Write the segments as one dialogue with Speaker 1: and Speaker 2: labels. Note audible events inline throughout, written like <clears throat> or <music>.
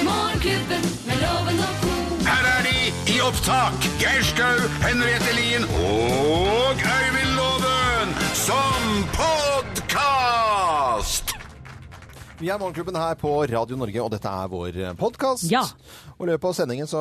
Speaker 1: Morgenklubben med loven og ko.
Speaker 2: Her er de i opptak. Geir Skau, Henriette Lien og Øyvind Loven som podkast!
Speaker 3: Vi er Morgenklubben her på Radio Norge, og dette er vår podkast.
Speaker 4: Ja.
Speaker 3: Og I løpet av sendingen så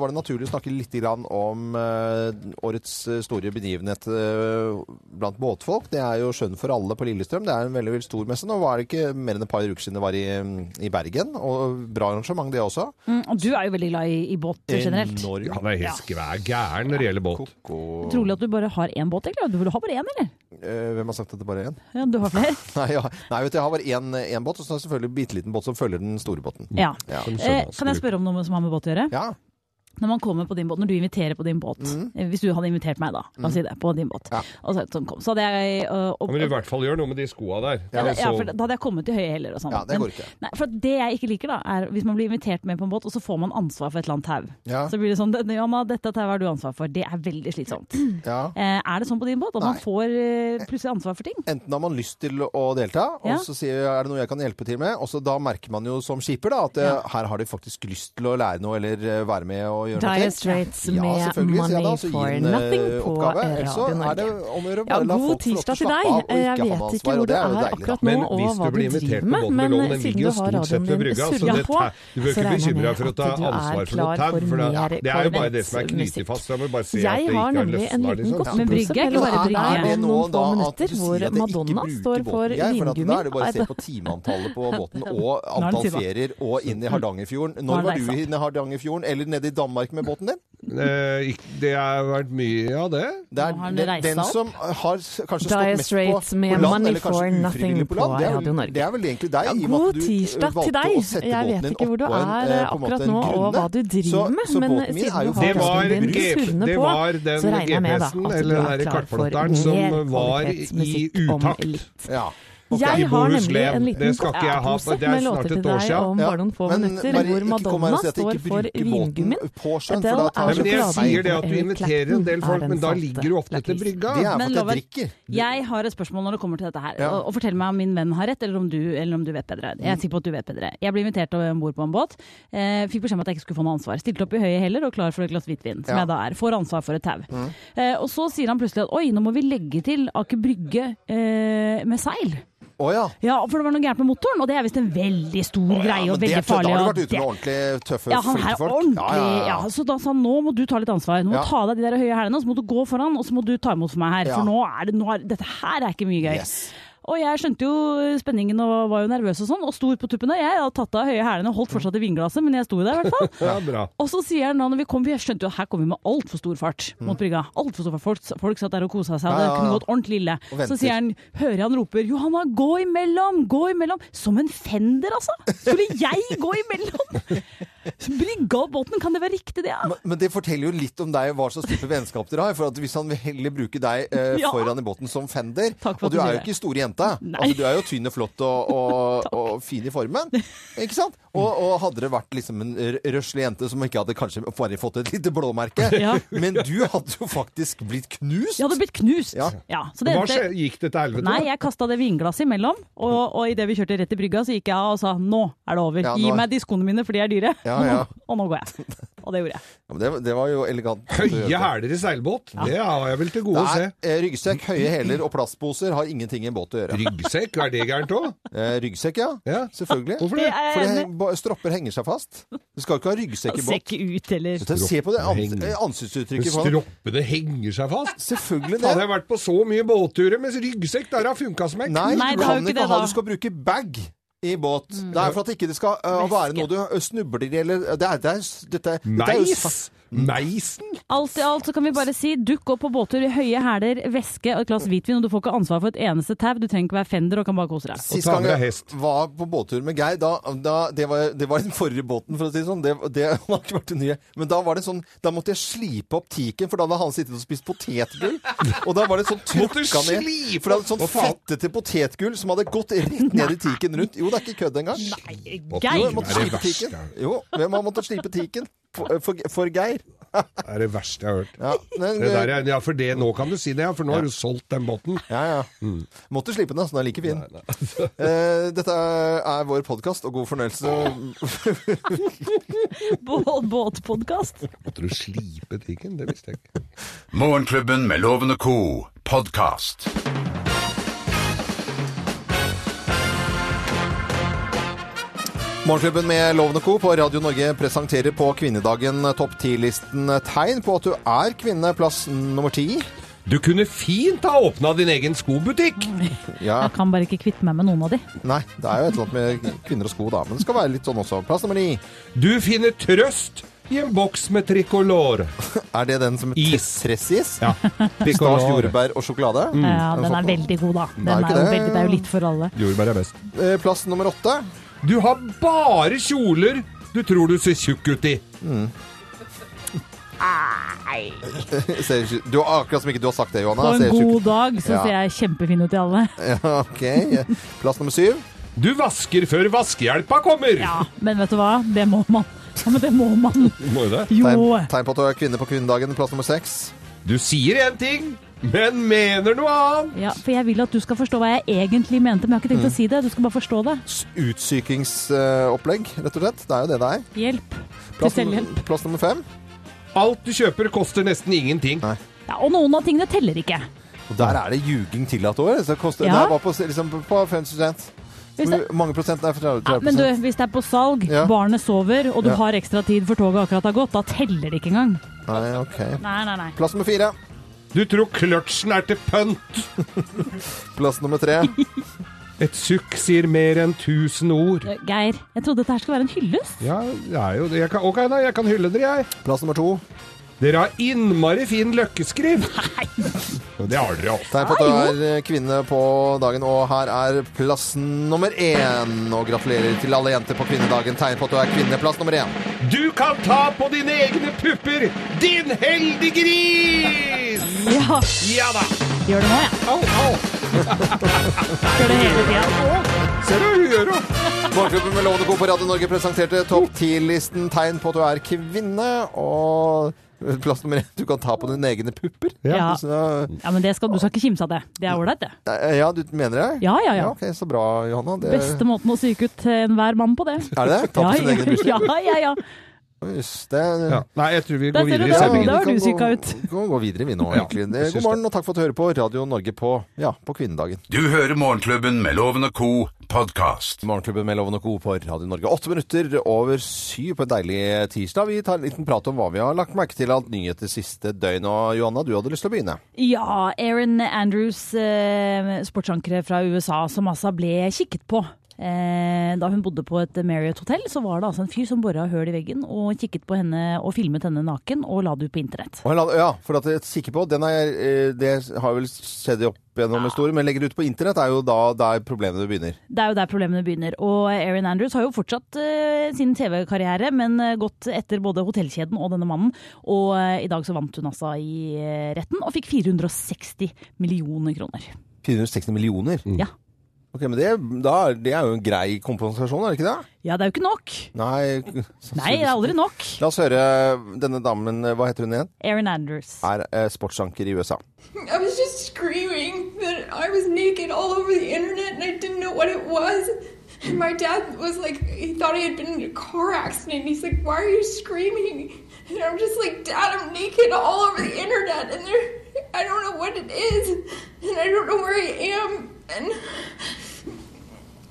Speaker 3: var det naturlig å snakke litt grann om eh, årets eh, store begivenhet eh, blant båtfolk. Det er jo Sjøen for alle på Lillestrøm. Det er en veldig, veldig stor messe. Nå var det ikke mer enn et par uker siden det var i, mm, i Bergen. Og bra arrangement, det også.
Speaker 4: Mm, og du er jo veldig glad i, i båt
Speaker 3: Eh,
Speaker 4: generelt.
Speaker 3: Enorm.
Speaker 5: Han er helt skvær gæren når det gjelder båt.
Speaker 3: Ko-
Speaker 4: Utrolig at du bare har én båt, egentlig. Du, du har bare én, eller?
Speaker 3: Eh, Hvem har sagt at det bare er én? <laughs>
Speaker 4: Ja, du har flere?
Speaker 3: Nei, ja. Nei, vet du, jeg har bare én én båt, og så har jeg selvfølgelig en bitte liten båt som følger den store båten.
Speaker 4: Ja.
Speaker 3: Ja.
Speaker 4: Eh, kan jeg spørre om noe som har med båt å gjøre?
Speaker 3: Ja. Mm.
Speaker 4: Når man kommer på din båt, når du inviterer på din båt, eh, hvis du hadde invitert meg da, la oss si det, på din båt,
Speaker 3: Ja.
Speaker 4: og så, sånn kom, så hadde jeg øh, opp,
Speaker 5: Han vil i hvert fall gjøre noe med de skoa der.
Speaker 4: ja, da,
Speaker 5: Altså,
Speaker 4: ja, for da hadde jeg kommet til høye hæler og sånn.
Speaker 3: Ja, det
Speaker 4: Men-
Speaker 3: går ikke.
Speaker 4: Nei, for det jeg ikke liker, da, er hvis man blir invitert med på en båt, og så får man ansvar for et eller annet tau.
Speaker 3: Ja.
Speaker 4: Så blir det sånn Johanna, dette tauet har du ansvar for. Det er veldig slitsomt.
Speaker 3: <clears throat> ja.
Speaker 4: Eh, er det sånn på din båt at man
Speaker 3: Nei.
Speaker 4: får eh, plutselig ansvar for ting?
Speaker 3: Enten har man lyst til å delta,
Speaker 4: Ja.
Speaker 3: og så sier jeg, er det noe jeg kan hjelpe til med. Og så da merker man jo som skipper da, at eh, her har de faktisk lyst til å lære noe eller eh, være med og gjøre
Speaker 6: Dire
Speaker 3: noe til.
Speaker 6: Straits
Speaker 3: Ja,
Speaker 6: med
Speaker 3: selvfølgelig, sier jeg da,
Speaker 6: Money
Speaker 3: så gi
Speaker 6: for
Speaker 3: en, eh,
Speaker 6: Nothing på
Speaker 3: oppgave, ellers så
Speaker 6: Radio
Speaker 3: er det
Speaker 6: Norge.
Speaker 3: om å gjøre å
Speaker 6: Ja,
Speaker 3: bare la
Speaker 6: god
Speaker 3: folk få lov til å
Speaker 6: tirsdag til deg.
Speaker 3: slappe av og ikke ha
Speaker 6: Jeg
Speaker 3: noe
Speaker 6: vet ikke
Speaker 3: ansvar, og
Speaker 6: hvor du
Speaker 3: det er jo
Speaker 6: er
Speaker 3: deilig.
Speaker 6: akkurat nå
Speaker 5: Men
Speaker 6: og
Speaker 5: hvis
Speaker 6: hva du
Speaker 5: du blir invitert
Speaker 6: driver
Speaker 5: på
Speaker 6: med,
Speaker 5: båten med
Speaker 6: men
Speaker 5: loven, den
Speaker 6: siden
Speaker 5: ligger
Speaker 6: du
Speaker 5: jo
Speaker 6: har
Speaker 5: stort sett
Speaker 6: radioen
Speaker 5: ved
Speaker 6: din
Speaker 5: brygga, så
Speaker 6: surra
Speaker 5: det
Speaker 6: på,
Speaker 5: tar- du
Speaker 6: så
Speaker 5: behøver ikke
Speaker 6: regner jeg
Speaker 5: bekymre deg
Speaker 6: med
Speaker 5: for å ta
Speaker 6: at du er
Speaker 5: ansvar for noe
Speaker 6: klar
Speaker 5: tau,
Speaker 6: for
Speaker 5: for det-
Speaker 6: mer
Speaker 5: det er jo bare det som er
Speaker 6: korvettmusikk.
Speaker 5: knyttet fast, så jeg må bare se at det
Speaker 6: Jeg
Speaker 5: ikke
Speaker 6: har
Speaker 5: er
Speaker 6: nemlig en
Speaker 5: løsna,
Speaker 6: liten
Speaker 5: liksom.
Speaker 4: Men
Speaker 6: godtepose
Speaker 4: brygge er ikke
Speaker 6: eller
Speaker 4: bare
Speaker 6: er
Speaker 4: brygge.
Speaker 6: der
Speaker 4: Er det
Speaker 6: om noen få minutter hvor Madonna står for
Speaker 3: for at Da er det bare å se
Speaker 6: vingummi.
Speaker 3: på timeantallet på båten og
Speaker 4: Nå er
Speaker 3: antall
Speaker 4: det timer.
Speaker 3: ferier og inn i Hardangerfjorden.
Speaker 4: Nå er
Speaker 3: Når var
Speaker 4: det
Speaker 3: du i Hardangerfjorden eller nede i Danmark med båten din?
Speaker 5: Eh, ikk- Det har vært mye av det.
Speaker 3: Det er
Speaker 4: Nå har han
Speaker 3: den,
Speaker 4: reist
Speaker 3: den
Speaker 4: seg
Speaker 3: som har s- kanskje stått
Speaker 6: Dire
Speaker 3: mest på,
Speaker 6: Straits
Speaker 3: på
Speaker 6: med
Speaker 3: land,
Speaker 6: Money
Speaker 3: eller kanskje
Speaker 6: for
Speaker 3: ufrivillig
Speaker 6: nothing
Speaker 3: på land.
Speaker 6: på
Speaker 3: Det er,
Speaker 6: Radio
Speaker 3: vel-
Speaker 6: Norge.
Speaker 3: det er vel egentlig deg,
Speaker 6: Ja,
Speaker 3: i og med
Speaker 6: god
Speaker 3: at du eh,
Speaker 6: tirsdag til
Speaker 3: valgte
Speaker 6: deg.
Speaker 3: å sette
Speaker 6: Jeg
Speaker 3: båten
Speaker 6: vet
Speaker 3: din
Speaker 6: ikke hvor du
Speaker 3: oppå en,
Speaker 6: er
Speaker 3: eh, på en måte
Speaker 6: akkurat
Speaker 3: en
Speaker 6: nå og
Speaker 3: grunne.
Speaker 6: hva du driver
Speaker 3: Så-
Speaker 6: med,
Speaker 3: så
Speaker 6: men eh,
Speaker 3: båten min
Speaker 6: siden
Speaker 3: er jo
Speaker 6: du har
Speaker 5: Det
Speaker 3: faktisk
Speaker 5: var,
Speaker 6: radioen din
Speaker 3: brygge.
Speaker 6: surrende
Speaker 5: det
Speaker 6: på,
Speaker 5: var den
Speaker 6: så regner jeg med da,
Speaker 5: GPS-en
Speaker 6: at du
Speaker 5: eller den
Speaker 6: er
Speaker 5: der
Speaker 6: klar for
Speaker 5: kartplotteren som var
Speaker 6: mer
Speaker 5: i
Speaker 6: kvalitetsmusikk om
Speaker 5: utakt.
Speaker 6: litt.
Speaker 3: Ja. Ok.
Speaker 5: I
Speaker 6: Jeg har nemlig
Speaker 5: Bohuslän.
Speaker 6: en
Speaker 5: Det
Speaker 6: liten
Speaker 5: skal ikke jeg ha, for
Speaker 6: kartpose
Speaker 5: det er
Speaker 6: med
Speaker 5: snart
Speaker 6: låter til
Speaker 5: et år
Speaker 6: deg
Speaker 5: siden.
Speaker 6: om
Speaker 3: Ja,
Speaker 6: bare noen få
Speaker 3: men
Speaker 6: minutter,
Speaker 3: bare
Speaker 6: hvor
Speaker 3: ikke kom her og
Speaker 6: Madonna
Speaker 3: si at jeg
Speaker 6: står
Speaker 3: ikke
Speaker 6: for
Speaker 3: bruker båten
Speaker 6: vingummien.
Speaker 3: På sjøen, for
Speaker 6: Adele
Speaker 3: da
Speaker 6: er
Speaker 3: tar
Speaker 5: Nei, men jeg
Speaker 6: sjokoladen
Speaker 5: sier det
Speaker 6: for
Speaker 5: at du
Speaker 6: Eric
Speaker 5: inviterer en
Speaker 6: Clapton
Speaker 5: del
Speaker 6: er
Speaker 5: folk,
Speaker 6: den
Speaker 5: men da
Speaker 6: salte
Speaker 5: ligger du ofte til
Speaker 6: lakrisen.
Speaker 5: brygga.
Speaker 3: Det er
Speaker 4: Men
Speaker 3: for at jeg
Speaker 4: loven-
Speaker 3: drikker.
Speaker 4: Jeg har et spørsmål når det kommer til dette her.
Speaker 3: Ja. Mm.
Speaker 4: Og, og fortell meg om min venn har rett, eller om du, eller om du vet bedre. Jeg er sikker på at du vet bedre. Jeg ble invitert om bord på en båt. Eh, fikk beskjed om at jeg ikke skulle få noe ansvar. Stilte opp i høye heller og klar for et glass hvitvin, som
Speaker 3: Ja. Mm.
Speaker 4: jeg da er. Får ansvar for et tau. Eh, og så sier han plutselig at oi, nå må vi legge til Aker Brygge eh, med seil.
Speaker 3: Å ja.
Speaker 4: Ja, for det var noe gærent med motoren, og det er visst en veldig stor greie
Speaker 3: Ja,
Speaker 4: og
Speaker 3: men det er
Speaker 4: veldig
Speaker 3: tøft. Da har
Speaker 4: farlig.
Speaker 3: du
Speaker 4: og
Speaker 3: vært ute
Speaker 4: det-
Speaker 3: med ordentlig tøffe,
Speaker 4: ja, han her er
Speaker 3: folk.
Speaker 4: ordentlig.
Speaker 3: Ja,
Speaker 4: Ja,
Speaker 3: ja, ja.
Speaker 4: Så da sa han nå må du ta litt ansvar. Nå må
Speaker 3: Ja.
Speaker 4: ta deg de der høye hælene, så må du gå foran, og så må du ta imot for meg her.
Speaker 3: Ja.
Speaker 4: For nå er det, nå er, dette her er ikke mye gøy.
Speaker 3: Yes.
Speaker 4: Og jeg skjønte jo spenningen og var jo nervøs og sånn, og sto ut på tuppene. Jeg hadde tatt av høye hælene og holdt fortsatt i vinglasset, men jeg sto der i
Speaker 3: <laughs>
Speaker 4: hvert fall.
Speaker 5: Ja, bra.
Speaker 4: Og så sier han da når vi kom, for jeg skjønte jo at her kom vi med altfor stor fart mot brygga. Alt for stor fart. Folk, folk satt der og kosa seg, og
Speaker 3: Mm. Ja,
Speaker 4: det
Speaker 3: ja, ja.
Speaker 4: kunne gått ordentlig ille.
Speaker 3: Og venter.
Speaker 4: Så sier han, hører jeg han roper 'Johanna, gå imellom! Gå imellom!' Som en fender, altså! Skulle jeg gå
Speaker 3: <laughs>
Speaker 4: imellom? Så Brygga og båten, kan det være riktig det? Ja?
Speaker 3: Men- Men det forteller jo litt om deg hva slags type vennskap dere har. For at hvis han vil heller bruke deg eh,
Speaker 4: Ja.
Speaker 3: foran i båten som fender
Speaker 4: Takk
Speaker 3: Og
Speaker 4: for at
Speaker 3: du er
Speaker 4: du sier
Speaker 3: jo
Speaker 4: det.
Speaker 3: ikke store jenta.
Speaker 4: Nei.
Speaker 3: Altså, du er jo tynn og flott og,
Speaker 4: <laughs>
Speaker 3: og, og fin i formen. Ikke sant? Og, og hadde det vært liksom en r- røslig jente som ikke hadde kanskje bare fått et lite blåmerke
Speaker 4: <laughs> Ja.
Speaker 3: Men du hadde jo faktisk blitt knust.
Speaker 4: Jeg hadde blitt knust.
Speaker 3: Ja.
Speaker 4: så det
Speaker 5: Hva
Speaker 4: endte-
Speaker 5: skje, gikk det til helvete?
Speaker 4: Nei, jeg kasta det vinglasset imellom, og, og idet vi kjørte rett til brygga, så gikk jeg av og sa 'nå er det over'.
Speaker 3: Ja, nå
Speaker 4: Gi
Speaker 3: er-
Speaker 4: meg de skoene mine, for de er dyre.
Speaker 3: Ja, ja.
Speaker 4: Og nå
Speaker 3: <laughs>
Speaker 4: går jeg. Og det gjorde jeg.
Speaker 3: Ja, men det, det var jo elegant.
Speaker 5: Høye hæler i seilbåt, det har jeg vel til gode å se.
Speaker 3: Nei, eh, ryggsekk, høye hæler og plastposer har ingenting i en båt å gjøre.
Speaker 5: Ryggsekk, er det gærent òg?
Speaker 3: Eh, ryggsekk, ja.
Speaker 5: Ja.
Speaker 3: Selvfølgelig.
Speaker 5: Hvorfor
Speaker 4: Det
Speaker 5: det?
Speaker 4: er jeg
Speaker 3: For det,
Speaker 4: enig i.
Speaker 3: heng- ba- stropper henger seg fast. Du skal ikke ha ryggsekk i
Speaker 4: Ser
Speaker 3: båt.
Speaker 4: ikke ut, eller
Speaker 3: Så Se på det ans
Speaker 5: Henger.
Speaker 3: eh, ansiktsuttrykket. på han.
Speaker 5: Stroppene henger seg fast.
Speaker 3: Selvfølgelig
Speaker 5: Hadde
Speaker 3: det.
Speaker 5: jeg vært på så mye båtturer mens ryggsekk, der har funka smekk.
Speaker 3: Nei,
Speaker 4: Nei,
Speaker 3: du
Speaker 4: det har
Speaker 3: kan
Speaker 4: jo ikke
Speaker 3: ikke
Speaker 4: det,
Speaker 3: ha
Speaker 4: da. Mm.
Speaker 3: Du skal bruke bag i båt. Det er for at ikke det skal eh, være noe du eh, snubler i eller det er, det er, dette, dette er jo
Speaker 5: Meis?
Speaker 3: sa-
Speaker 5: Meisen?
Speaker 4: Alt i alt så kan vi bare si dukk opp på båttur i høye hæler, væske og et glass hvitvin, og du får ikke ansvar for et eneste tau. Du trenger ikke være fender og kan bare kose deg.
Speaker 3: <laughs> Sist
Speaker 5: ta
Speaker 3: gang
Speaker 5: med deg
Speaker 3: jeg
Speaker 5: hest.
Speaker 3: var på båttur med Geir, da, da det, var, det var den forrige båten, for å si det sånn. Det, det <laughs> har ikke vært den nye. Men da var det sånn Da måtte jeg slipe opp tiken, for da hadde han sittet og spist potetgull. Og da var det sånn
Speaker 5: <laughs>
Speaker 3: trukka ned.
Speaker 5: slipe
Speaker 3: For det hadde
Speaker 5: opp?
Speaker 3: sånn
Speaker 5: Hva faen?
Speaker 3: fettete potetgull som hadde gått rett ned i tiken rundt. Jo, det er ikke kødd engang.
Speaker 4: Nei,
Speaker 3: Jo,
Speaker 4: Geir!
Speaker 3: jeg måtte
Speaker 5: Er det
Speaker 3: slipe
Speaker 5: verst,
Speaker 3: tiken. Jo, hvem har måttet slipe tiken? For, for, for Geir.
Speaker 5: Det er det verste jeg har hørt.
Speaker 3: Ja, men,
Speaker 5: Det der er, ja, for det, nå kan du si det, ja, for nå har du solgt den båten.
Speaker 3: ja, ja.
Speaker 5: Mm.
Speaker 3: Måtte slippe den, altså. Den er like fin.
Speaker 5: <laughs>
Speaker 3: Eh, dette er vår podkast, og god fornøyelse.
Speaker 4: Bå- Båtpodkast.
Speaker 5: Måtte du slipe tingen? Det visste jeg ikke.
Speaker 2: Morgenklubben med Loven og Co. podkast.
Speaker 3: Morgenklubben med Loven og Co. på Radio Norge presenterer på kvinnedagen topp 10-listen tegn på at du er kvinne, plass nummer ti.
Speaker 5: Du kunne fint ha åpna din egen skobutikk!
Speaker 3: Ja,
Speaker 4: Jeg kan bare ikke kvitte meg med noen av de.
Speaker 3: nei, det er jo et eller annet med kvinner og sko, da. Men det skal være litt sånn også. Plass nummer ni.
Speaker 5: Du finner trøst i en boks med tricolor.
Speaker 3: Er det den som
Speaker 5: Is.
Speaker 3: tressis?
Speaker 5: Ja.
Speaker 3: Stas, jordbær og sjokolade?
Speaker 4: Ja,
Speaker 3: det er
Speaker 4: den
Speaker 3: sant,
Speaker 4: er
Speaker 3: da.
Speaker 4: veldig god, da.
Speaker 3: er
Speaker 4: Den er
Speaker 3: ikke
Speaker 4: jo
Speaker 3: Sånn. det.
Speaker 4: veldig, det er jo litt for alle.
Speaker 5: Jordbær er best.
Speaker 3: Eh, Plass nummer åtte. <laughs>
Speaker 5: Du har bare kjoler du tror du ser tjukk ut i.
Speaker 3: Ser ikke- Du har akkurat som ikke du har sagt det,
Speaker 4: På
Speaker 3: Johanna.
Speaker 4: en
Speaker 3: Ser ikke-
Speaker 4: god dag så
Speaker 3: Ja.
Speaker 4: ser jeg kjempefin ut i alle.
Speaker 3: <laughs> Ja, ok. Plass nummer syv.
Speaker 5: Du vasker før vaskehjelpa kommer!
Speaker 4: Ja, men vet du hva? Det må man. Ja, men det må man.
Speaker 5: Må jo det.
Speaker 4: Jo.
Speaker 3: Tegn, tegn på at du er kvinne på kvinnedagen. Plass nummer seks.
Speaker 5: Du sier én ting, men mener noe annet.
Speaker 4: Ja, for jeg vil at du skal forstå hva jeg egentlig mente, men jeg har ikke tenkt
Speaker 3: Mm.
Speaker 4: å si det. Du skal bare forstå det.
Speaker 3: S- Utsykingsopplegg, rett og slett. Det er jo det det er.
Speaker 4: Hjelp. Til
Speaker 3: Plass,
Speaker 4: selvhjelp.
Speaker 3: plass nummer fem.
Speaker 5: Alt du kjøper, koster nesten ingenting.
Speaker 4: Ja, og noen av tingene teller ikke.
Speaker 3: Og der er det ljuging tillatt år. Så det koster,
Speaker 4: Ja.
Speaker 3: Det her var på, liksom, på 50
Speaker 4: Hvis det,
Speaker 3: Hvor mange prosent er for 30
Speaker 4: ja, men du, hvis det er på salg,
Speaker 3: Ja.
Speaker 4: barnet sover, og du
Speaker 3: Ja.
Speaker 4: har ekstra tid for toget akkurat har gått, da teller det ikke engang.
Speaker 3: Nei, ok.
Speaker 4: Nei, nei, nei.
Speaker 3: Plass nummer fire.
Speaker 5: Du tror kløtsjen er til pønt.
Speaker 3: Plass nummer
Speaker 4: <laughs>
Speaker 3: tre.
Speaker 5: Et sukk sier mer enn tusen ord.
Speaker 4: Eh, Geir, jeg trodde dette her skulle være en hyllest.
Speaker 5: Ja, det er jo det. Jeg kan, ok, da, jeg kan hylle dere, jeg.
Speaker 3: Plass nummer to.
Speaker 5: Dere har innmari fin
Speaker 4: <laughs>
Speaker 5: løkkeskriv. Og det har dere også.
Speaker 3: Tegn på at du er eh, kvinne på dagen, og her er plass nummer én. Og gratulerer til alle jenter på kvinnedagen. Tegn på at du er kvinne. Plass nummer én.
Speaker 5: Du kan ta på dine egne pupper, din heldige gris!
Speaker 4: Ja,
Speaker 5: Ja da.
Speaker 4: gjør det nå, jeg.
Speaker 5: Au, au.
Speaker 4: Gjør det hele tida.
Speaker 5: Ser du, hun gjør det.
Speaker 3: Morgenklubben med Lovende Co på Radio Norge presenterte topp ti-listen tegn på at du er kvinne. Og plass nummer én. Du kan ta på dine egne pupper.
Speaker 4: Ja.
Speaker 3: Så,
Speaker 4: Ja, men det skal, du skal ikke kimse av det. Det er ålreit, det.
Speaker 3: altså. eh, ja, du mener det?
Speaker 4: Ja, ja, ja.
Speaker 3: ok, Så bra, Johanna. Det,
Speaker 4: Beste måten å psyke ut eh, enhver mann på, det.
Speaker 3: Er det det? Ta på
Speaker 4: Ja,
Speaker 3: sine egne bryster?
Speaker 4: <laughs> ja, ja, ja.
Speaker 3: Jøss, Det,
Speaker 5: Ja. Nei, jeg tror vi
Speaker 4: Der
Speaker 5: går
Speaker 4: ser du
Speaker 5: videre
Speaker 3: vi
Speaker 4: det.
Speaker 5: i sendingen.
Speaker 4: Da var
Speaker 3: kan gå-
Speaker 4: du psyka ut.
Speaker 3: Vi kan gå videre vi nå,
Speaker 5: Ja,
Speaker 3: egentlig. Eh,
Speaker 5: jeg
Speaker 3: God
Speaker 5: syns
Speaker 3: morgen og takk for at du hører på Radio Norge på, ja, på kvinnedagen.
Speaker 2: Du hører Morgenklubben med Loven og Co. podkast.
Speaker 3: Morgenklubben med Loven og Co. på Radio Norge. Åtte minutter over syv på en deilig tirsdag. Vi tar en liten prat om hva vi har lagt merke til av nyheter siste døgn. Og Johanna, du hadde lyst til å begynne.
Speaker 4: Ja, Aaron Andrews, eh, sportsankere fra USA, som altså ble kikket på. Eh, da hun bodde på et Marriott-hotell, så var det altså en fyr som bora høl i veggen og kikket på henne og filmet henne naken og la det ut på internett.
Speaker 3: Og la- ja, for at jeg er sikker på, den er, eh, det har vel skjedd opp gjennom historien, men legger det ut på internett er jo da der problemene begynner.
Speaker 4: Det er jo der problemene begynner. Og Erin Andrews har jo fortsatt eh, sin TV-karriere, men eh, gått etter både hotellkjeden og denne mannen. Og eh, i dag så vant hun altså i eh, retten og fikk 460 millioner kroner.
Speaker 3: 460 millioner?
Speaker 4: Ja.
Speaker 3: Ok, men det, da, er- det er jo en grei kompensasjon, er det ikke det?
Speaker 4: ja, det er jo ikke nok.
Speaker 3: Nei,
Speaker 4: <laughs> Nei, det er aldri nok.
Speaker 3: La oss høre denne damen, eh, hva heter hun igjen?
Speaker 4: Erin Andrews.
Speaker 3: Er eh, sportsanker i USA.
Speaker 7: I was just screaming that I was naked all over the internet and I didn't know what it was. And my dad was like, he thought I had been in a car accident. He's like, why are you screaming? And I'm just like, Dad, I'm naked all over the internet and there, I don't know what it is and I don't know where I am. And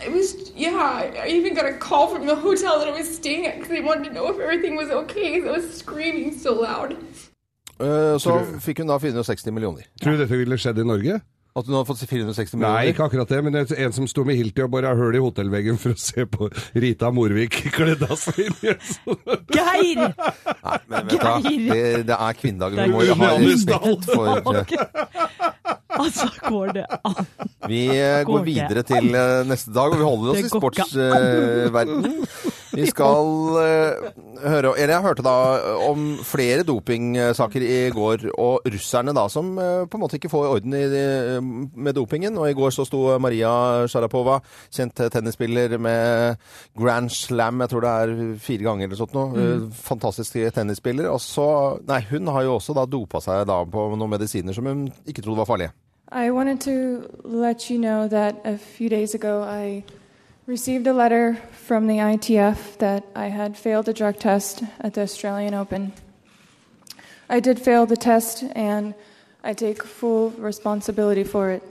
Speaker 7: it was, yeah, I even got a call from the hotel that I was staying at because they wanted to know if everything was okay because I was screaming so loud.
Speaker 3: Eh, så fikk hun da 460 millioner.
Speaker 5: Tror du dette ville skjedd i Norge?
Speaker 3: At hun hadde fått 460 millioner?
Speaker 5: Nei, ikke akkurat det, men det er en som sto med Hilti og bare har høl i hotellveggen for å se på Rita Morvik <laughs> kledd av svinjes.
Speaker 4: Geir!
Speaker 3: Men vet du hva?
Speaker 4: Geir!
Speaker 3: det, det er kvinnedagen. Vi må
Speaker 5: Det
Speaker 3: jo
Speaker 5: er
Speaker 3: ha
Speaker 5: Johannes Dahl.
Speaker 3: respekt for eh,
Speaker 4: Altså, går det an?
Speaker 3: Vi eh, går
Speaker 4: ikke
Speaker 3: videre til eh, neste dag, og vi holder oss
Speaker 4: Det
Speaker 3: i
Speaker 4: går ikke
Speaker 3: sportsverdenen. Vi skal eh, høre Eller jeg hørte da eh, om flere dopingsaker i går, og russerne da som eh, på en måte ikke får orden i, de- med dopingen. Og i går så sto Maria Sharapova, kjent tennisspiller med Grand Slam, jeg tror det er fire ganger eller sånt noe.
Speaker 4: Mm.
Speaker 3: eh, Fantastisk tennisspiller. Og så Nei, hun har jo også da dopa seg da på noen medisiner som hun ikke trodde var farlige.
Speaker 8: I wanted to let you know that a few days ago I received a letter from the ITF that I had failed a drug test at the Australian Open. I did fail the test and I take full responsibility for it.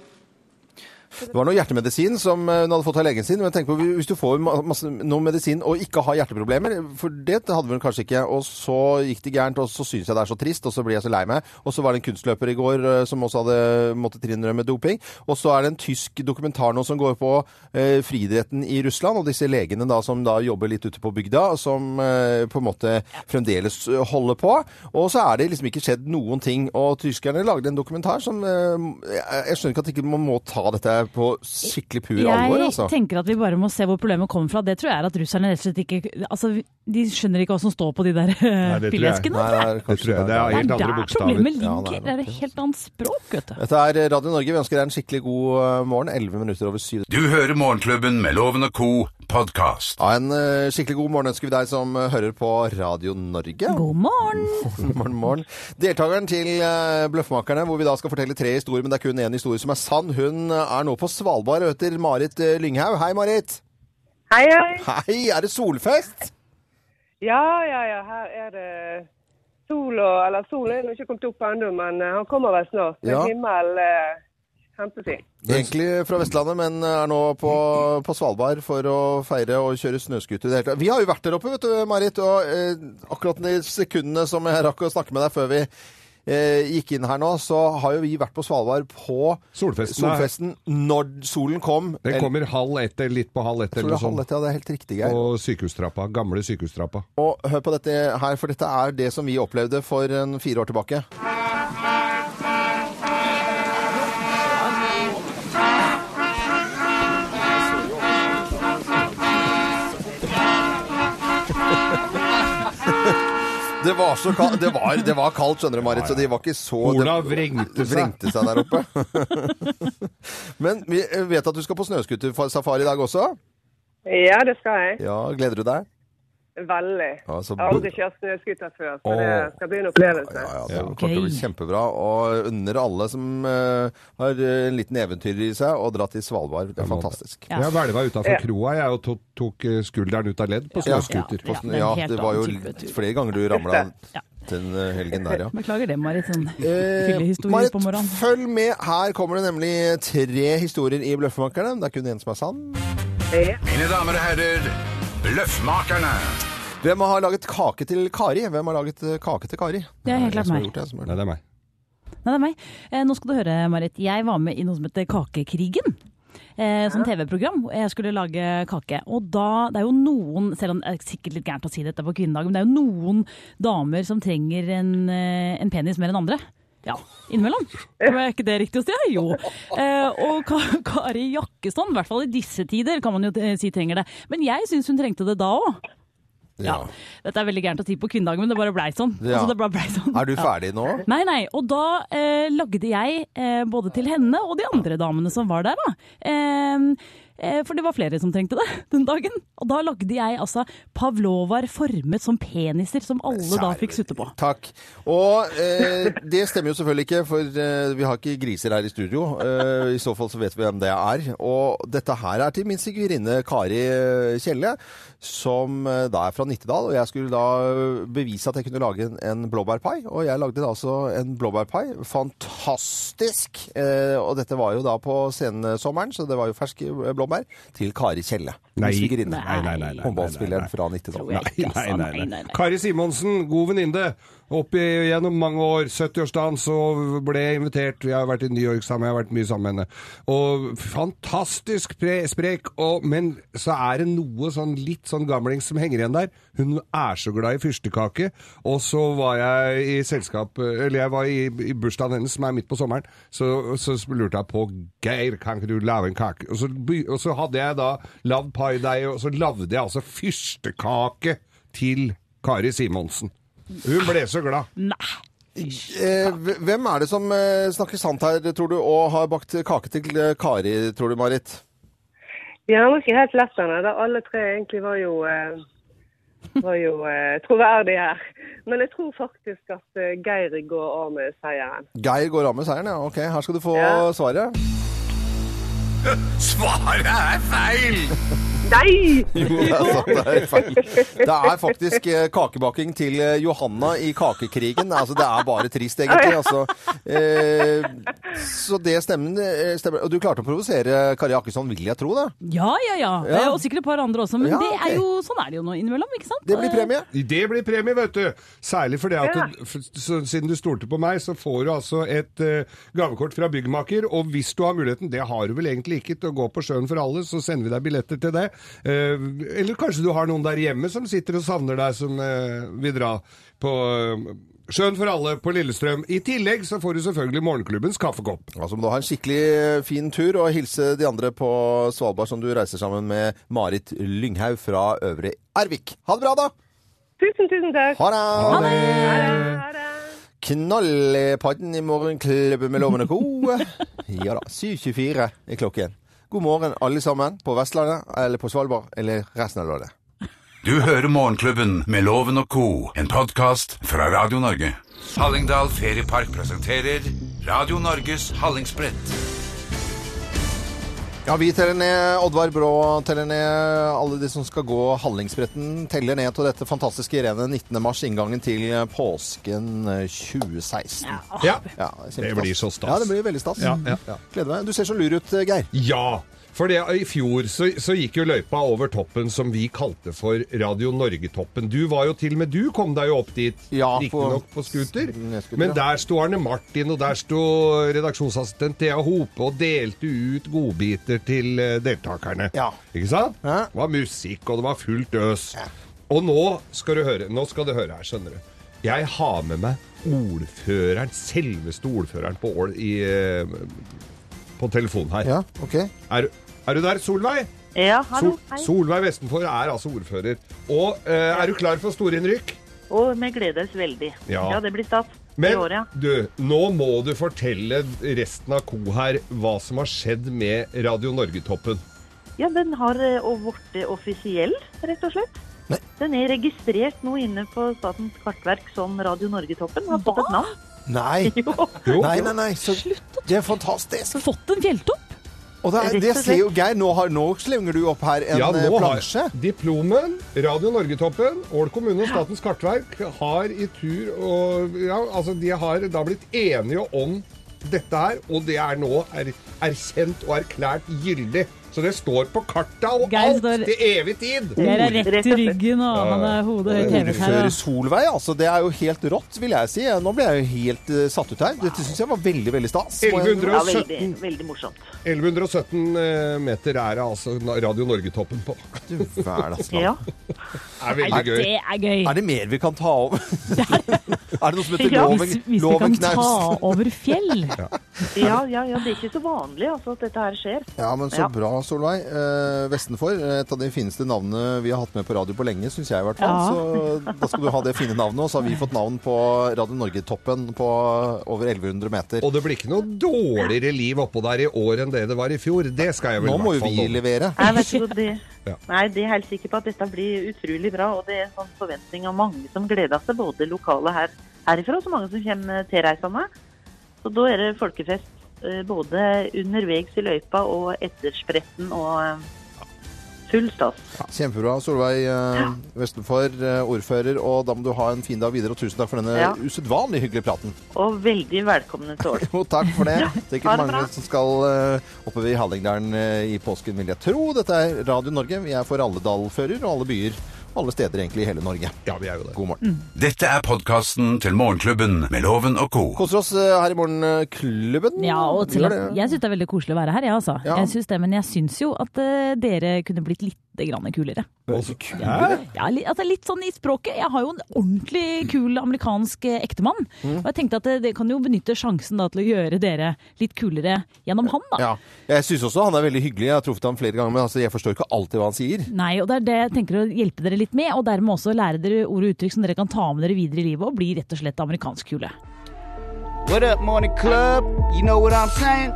Speaker 3: Det var noe hjertemedisin som eh, hun hadde fått av legen sin. Men tenk på hvis du får ma- masse, noe medisin og ikke har hjerteproblemer, for det hadde hun kanskje ikke, og så gikk det gærent, og så syns jeg det er så trist, og så blir jeg så lei meg. Og så var det en kunstløper i går eh, som også hadde måttet innrømme doping. Og så er det en tysk dokumentar nå som går på eh, friidretten i Russland, og disse legene da som da jobber litt ute på bygda, som eh, på en måte fremdeles eh, holder på. Og så er det liksom ikke skjedd noen ting. Og tyskerne lagde en dokumentar som eh, Jeg jeg skjønner ikke at ikke man må ta dette på skikkelig pur alvor, altså.
Speaker 4: Jeg tenker at vi bare må se hvor problemet kommer fra. Det tror jeg er at russerne rett og slett ikke Altså, de skjønner ikke hva som står på de der eh,
Speaker 5: det tror jeg.
Speaker 4: pilleskene.
Speaker 3: Nei, det er
Speaker 5: Det
Speaker 3: kanskje
Speaker 5: tror jeg. Det er
Speaker 4: Det
Speaker 5: helt
Speaker 4: er
Speaker 5: andre
Speaker 4: der
Speaker 5: bokstaver.
Speaker 4: problemet
Speaker 3: Ja, det
Speaker 4: ligger.
Speaker 3: er
Speaker 4: Det er et helt annet språk, vet du.
Speaker 3: Dette er Radio Norge. Vi ønsker deg en skikkelig god eh, morgen. 11 minutter over syv.
Speaker 2: Du hører Morgenklubben med Loven og Co. podkast.
Speaker 3: Ja, en eh, skikkelig god morgen ønsker vi deg som eh, hører på Radio Norge.
Speaker 4: God morgen!
Speaker 3: morgen, morgen. Deltakeren til eh, Bløffmakerne, hvor vi da skal fortelle tre historier, men det er kun én historie som er sann. Hun eh, er nå på Svalbard og heter Marit eh, Lynghaug. Hei, Marit.
Speaker 9: Hei, hei.
Speaker 3: Hei, er det solfest?
Speaker 9: Ja, ja, ja. Her er det sol og Eller solen er nå ikke kommet opp ennå, men eh, han kommer vel snart.
Speaker 3: Ja.
Speaker 9: Ja. Himmel eh, hentes inn.
Speaker 3: Egentlig fra Vestlandet, men eh, er nå på, på Svalbard for å feire og kjøre snøskuter. i det hele tatt. Vi har jo vært der oppe, vet du, Marit, og eh, akkurat de sekundene som jeg rakk å snakke med deg før vi eh, gikk inn her nå, så har jo vi vært på Svalbard på
Speaker 5: Solfesten er-
Speaker 3: solfesten når solen kom.
Speaker 5: Den kommer halv ett, eller litt på halv ett
Speaker 3: Eller,
Speaker 5: eller noe
Speaker 3: halv
Speaker 5: sånt.
Speaker 3: ett, ja, det er helt riktig, Geir.
Speaker 5: På sykehustrappa. Gamle sykehustrappa.
Speaker 3: Og hør på dette her, for dette er det som vi opplevde for en fire år tilbake. <laughs> Det var, så kaldt, det var, det var kaldt, skjønner du, Marit, så de var ikke så
Speaker 5: Ola
Speaker 3: det-
Speaker 5: vrengte seg.
Speaker 3: vrengte seg der oppe. <laughs> Men vi vet at du skal på snøskutersafari i dag også.
Speaker 9: Ja, det skal jeg.
Speaker 3: Ja, Gleder du deg?
Speaker 9: Veldig.
Speaker 3: Ja, så
Speaker 9: Jeg har aldri
Speaker 3: bra.
Speaker 9: kjørt snøscooter før, så
Speaker 5: Åh.
Speaker 9: det skal bli en opplevelse.
Speaker 3: Ja, ja, det
Speaker 5: Ja.
Speaker 3: kommer til å bli
Speaker 4: Gøy.
Speaker 3: kjempebra. Og unner alle som eh, har eh, en liten eventyr i seg, å dra til Svalbard. Det er fantastisk.
Speaker 4: Ja.
Speaker 5: Jeg hvelva utafor
Speaker 9: Ja.
Speaker 5: kroa, jeg, og tok, tok eh, skulderen ut av ledd på snøskuter.
Speaker 4: Ja, det er en
Speaker 3: Ja,
Speaker 4: helt
Speaker 3: det var jo
Speaker 4: annen type tur.
Speaker 3: flere ganger du ramla
Speaker 4: Ja.
Speaker 3: den eh, helgen <laughs> der, ja.
Speaker 4: Beklager det, Marit. Sånn fyllehistorie
Speaker 3: Eh, Marit,
Speaker 4: på morgenen.
Speaker 3: følg med. Her kommer det nemlig tre historier i Bløffmakerne. Det er kun én som er sann.
Speaker 9: Ja.
Speaker 2: Mine damer og herrer, Bløffmakerne. <laughs>
Speaker 3: Hvem har laget kake til Kari? Hvem har laget eh, kake til Kari?
Speaker 4: Det er helt
Speaker 3: jeg
Speaker 4: klart
Speaker 3: som har
Speaker 4: meg.
Speaker 3: gjort det, jeg som har gjort
Speaker 5: Nei, det er meg.
Speaker 4: Nei, det er meg. Eh, nå skal du høre, Marit. Jeg var med i noe som heter Kakekrigen. Eh, som TV-program. Jeg skulle lage kake. Og da Det er jo noen, selv om det er sikkert litt gærent å si dette på kvinnedagen, men det er jo noen damer som trenger en, eh, en penis mer enn andre. Ja, innimellom. Er ikke det riktig å si? Ja, Jo. Eh, og Ka- Kari Jakkesson, i hvert fall i disse tider, kan man jo eh, si trenger det. Men jeg syns hun trengte det da òg.
Speaker 3: det.
Speaker 4: Ja. Dette er veldig gærent å si på kvinnedagen, men det bare blei sånn.
Speaker 3: Ja.
Speaker 4: Altså, det bare blei sånn.
Speaker 3: Er du
Speaker 4: Ja.
Speaker 3: ferdig nå?
Speaker 4: Nei, nei. Og da eh, lagde jeg eh, både til henne og de andre damene som var der, da. Ehm, Eh, for det var flere som trengte det <laughs> den dagen. Og da lagde jeg altså pavlovaer formet som peniser, som alle da fikk sutte på.
Speaker 3: Takk. Og eh, det stemmer jo selvfølgelig ikke, for eh, vi har ikke griser her i studio. Eh, I så fall så vet vi hvem det er. Og dette her er til min sigøynerinne Kari eh, Kjelle, som eh, da er fra Nittedal. Og jeg skulle da eh, bevise at jeg kunne lage en, en blåbærpai, og jeg lagde da altså en blåbærpai. Fantastisk! Eh, og dette var jo da på sensommeren, så det var jo ferske eh, blåbær til Kari Kjelle. min
Speaker 5: Nei.
Speaker 3: sigøynerinne.
Speaker 5: Nei, nei, nei, nei, nei, nei, nei.
Speaker 3: Håndballspilleren fra Nittedal.
Speaker 4: Tror jeg ikke,
Speaker 5: Nei,
Speaker 4: altså.
Speaker 5: nei, nei, nei. Kari Simonsen, god venninne. Opp i- gjennom mange år. 70-årsdagen så ble jeg invitert. Jeg har vært i New York sammen, jeg har vært mye sammen med henne. Og fantastisk pre sprek, og, men så er det noe sånn litt sånn gamlings som henger igjen der. Hun er så glad i fyrstekake, og så var jeg i selskap Eller jeg var i, i bursdagen hennes, som er midt på sommeren, så, så lurte jeg på Geir, kan ikke du lage en kake? Og så, by- og så hadde jeg da lagd par glad i deg, og så lagde jeg altså fyrstekake til Kari Simonsen. Hun ble så glad.
Speaker 4: Nei.
Speaker 3: Eh, hv- hvem er det som eh, snakker sant her, tror du, og har bakt kake til eh, Kari, tror du, Marit?
Speaker 9: Ja, det var ikke helt lett, Anne. Da alle tre egentlig var jo, eh, var jo eh, troverdige her. Men jeg tror faktisk at eh, Geir går av med seieren.
Speaker 3: Geir går av med seieren, ja. Ok, her skal du få
Speaker 9: Ja.
Speaker 3: svaret.
Speaker 2: Svaret er feil!
Speaker 3: <laughs>
Speaker 9: Nei!
Speaker 3: Altså, det, er helt feil. det er faktisk eh, kakebaking til eh, Johanna i kakekrigen. Altså, det er bare trist, egentlig. Altså, eh, så det stemmer, eh, stemmer. Og du klarte å provosere Kari Akkesson, vil jeg tro, da.
Speaker 4: Ja, ja, ja.
Speaker 3: Ja.
Speaker 4: Eh, Og sikkert et par andre også. Men
Speaker 3: Ja,
Speaker 4: det
Speaker 3: ok.
Speaker 4: er jo, sånn er det jo nå innimellom, ikke sant?
Speaker 3: Det blir
Speaker 4: Eh,
Speaker 3: premie.
Speaker 5: Det blir premie, vet du. Særlig fordi at
Speaker 9: Ja.
Speaker 5: du- f- så, siden du stolte på meg, så får du altså et eh, gavekort fra byggmaker. Og hvis du har muligheten, det har du vel egentlig ikke, til å gå på sjøen for alle, så sender vi deg billetter til det. Eh, eller kanskje du har noen der hjemme som sitter og savner deg, som eh, vil dra på eh, Sjøen for alle på Lillestrøm. I tillegg så får du selvfølgelig morgenklubbens kaffekopp.
Speaker 3: Altså må du ha en skikkelig eh, fin tur og hilse de andre på Svalbard som du reiser sammen med Marit Lynghaug fra Øvre Ervik. Ha det bra, da!
Speaker 9: <laughs> Tusen, tusen takk.
Speaker 3: Ha det!
Speaker 9: Ha det.
Speaker 3: Knall i padden i morgenklubben med lovende <laughs> ko. Ja da. 7.24 er klokken. God morgen, alle sammen, på Vestlandet eller på Svalbard eller resten av landet.
Speaker 2: Du hører Morgenklubben med Loven og Co., en podkast fra Radio Norge. Hallingdal Feriepark presenterer Radio Norges Hallingsbrett.
Speaker 3: Ja, vi teller ned. Oddvar Brå teller ned. Alle de som skal gå Hallingsbretten, teller ned til dette fantastiske renet 19. mars, inngangen til påsken eh, 2016. Ja,
Speaker 5: Ja.
Speaker 3: er
Speaker 5: Det
Speaker 3: kjempestas.
Speaker 5: blir så stas.
Speaker 3: Ja, det blir veldig stas.
Speaker 5: Ja, ja.
Speaker 3: Gleder meg. Du ser så lur ut, eh, Geir.
Speaker 5: Ja, for det, i fjor så, så gikk jo løypa over toppen som vi kalte for Radio Norge-toppen. Du var jo til og med du kom deg jo opp dit,
Speaker 3: Ja,
Speaker 5: riktignok
Speaker 3: på-
Speaker 5: på, scooter.
Speaker 3: Nedscooter,
Speaker 5: Men
Speaker 3: ja.
Speaker 5: der sto Arne Martin, og der sto redaksjonsassistent Thea Hope og delte ut godbiter til eh, deltakerne.
Speaker 3: Ja.
Speaker 5: Ikke sant?
Speaker 3: Ja.
Speaker 5: Det var musikk, og det var fullt øs. Og nå skal du høre, nå skal du høre her, skjønner du. Jeg har med meg ordføreren, selveste ordføreren på Ål i, eh, på telefonen her.
Speaker 3: Ja, ok.
Speaker 5: Er, er du der, Solveig?
Speaker 9: Ja, hallo.
Speaker 5: Sol-
Speaker 9: Hei.
Speaker 5: Solveig Vestenfor er altså ordfører. Og eh, er du klar for storinnrykk?
Speaker 9: Og vi gleder oss veldig.
Speaker 5: Ja.
Speaker 9: det blir stas. I
Speaker 5: Men
Speaker 9: år, ja.
Speaker 5: du, nå må du fortelle resten av co her hva som har skjedd med Radio Norgetoppen.
Speaker 9: ja, den har eh, og blitt offisiell, rett og slett.
Speaker 3: Nei.
Speaker 9: Den er registrert nå inne på Statens kartverk som Radio Norgetoppen. Har fått et navn.
Speaker 3: Nei.
Speaker 5: Jo,
Speaker 3: Nei, nei, nei. Så, det er fantastisk.
Speaker 4: Fått en fjelltopp?
Speaker 3: Og det, er,
Speaker 9: Rett
Speaker 3: det
Speaker 9: og slett.
Speaker 3: ser jo Geir. Nå, har, nå slenger du opp her en
Speaker 5: ja,
Speaker 3: eh,
Speaker 5: nå har
Speaker 3: plansje.
Speaker 5: diplomen, Radio Norgetoppen, Ål kommune og Statens kartverk har i tur og Ja, altså, de har da blitt enige om dette her, og det er nå er, erkjent og erklært gyldig. Så det står på karta og
Speaker 4: Geir
Speaker 5: alt
Speaker 4: står-
Speaker 5: til evig tid!
Speaker 4: Geir er
Speaker 9: rett og
Speaker 4: rett i
Speaker 9: slett.
Speaker 4: ryggen, og han er hodet høyt hevet her.
Speaker 3: Ordfører
Speaker 4: ja.
Speaker 3: Solveig, altså. Det er jo helt rått, vil jeg si. Nå ble jeg jo helt eh, satt ut her. Dette syns jeg var veldig, veldig stas. Må jeg-
Speaker 5: 1117,
Speaker 9: Ja, veldig, veldig morsomt.
Speaker 5: 1117 eh, meter er det altså Radio Norgetoppen på.
Speaker 3: Du hverdagsland.
Speaker 9: Ja.
Speaker 5: <laughs> Det er veldig
Speaker 4: Nei,
Speaker 5: gøy.
Speaker 4: det er gøy.
Speaker 3: Er det mer vi kan ta
Speaker 4: <laughs>
Speaker 3: over? er det noe som heter
Speaker 9: Ja,
Speaker 3: loven,
Speaker 4: Hvis, hvis vi
Speaker 3: loven
Speaker 4: kan ta
Speaker 3: knaust?
Speaker 4: <laughs> over fjell.
Speaker 9: <laughs> Ja, ja, ja. Det er ikke så vanlig altså, at dette her skjer.
Speaker 3: <laughs> Ja, men så
Speaker 9: Ja.
Speaker 3: bra, Solveig. Eh, Vestenfor, et av de fineste navnene vi har hatt med på radio på lenge, syns jeg i hvert fall.
Speaker 4: Ja.
Speaker 3: Så da skal du ha det fine navnet. Og så har vi fått navn på Radio Norge-toppen på over 1100 meter.
Speaker 5: Og det blir ikke noe dårligere liv oppå der i år enn det det var i fjor. Det skal jeg vel
Speaker 3: Nå
Speaker 5: i
Speaker 3: må
Speaker 5: hvert
Speaker 3: jo
Speaker 5: fall
Speaker 3: vi
Speaker 5: love.
Speaker 3: levere.
Speaker 9: Nei, vet du, det,
Speaker 5: Ja.
Speaker 9: nei, det er helt sikker på at dette blir utrolig bra. Og det er en sånn forventning av mange som gleder seg, både lokale her, herifra og så mange som kommer tilreisende. Så da er det folkefest eh, både underveis i løypa og etter spretten og eh, full stas.
Speaker 3: Kjempebra, Solveig eh, Vestenfor, eh, ordfører. Og da må du ha en fin dag videre, og tusen takk for denne
Speaker 9: Ja.
Speaker 3: usedvanlig hyggelige praten.
Speaker 9: Og veldig velkomne til Ål.
Speaker 3: Jo, takk for det.
Speaker 9: Ha
Speaker 3: Sikkert
Speaker 9: det
Speaker 3: mange
Speaker 9: bra.
Speaker 3: som skal eh, oppover i Hallingdalen eh, i påsken, vil jeg tro. Dette er Radio Norge. Vi er for alle dalfører og alle byer. og Alle steder egentlig i hele Norge.
Speaker 5: Ja, vi er jo det.
Speaker 3: God morgen.
Speaker 2: Dette er podkasten til Morgenklubben med Loven og Co.
Speaker 3: Koser oss eh, her i Morgenklubben.
Speaker 4: Ja, og til
Speaker 3: Gjør
Speaker 4: at,
Speaker 3: det.
Speaker 4: jeg syns det er veldig koselig å være her, jeg altså.
Speaker 3: Ja.
Speaker 4: Jeg synes det, men jeg syns jo at eh, dere kunne blitt litt litt grann kulere.
Speaker 5: Hæ?
Speaker 4: Ja, li- altså litt sånn i språket. Jeg har jo en ordentlig kul amerikansk eh, ektemann. Og jeg tenkte at eh, det, det kan jo benytte sjansen da til å gjøre dere litt kulere gjennom han, da.
Speaker 3: Ja. Jeg syns også han er veldig hyggelig. Jeg har truffet ham flere ganger, men altså, jeg forstår ikke alltid hva han sier.
Speaker 4: Nei, og det er det jeg tenker å hjelpe dere litt med, og dermed også lære dere ord og uttrykk som dere kan ta med dere videre i livet og bli rett og slett amerikansk kule.
Speaker 10: What up, morning club? You know what I'm saying?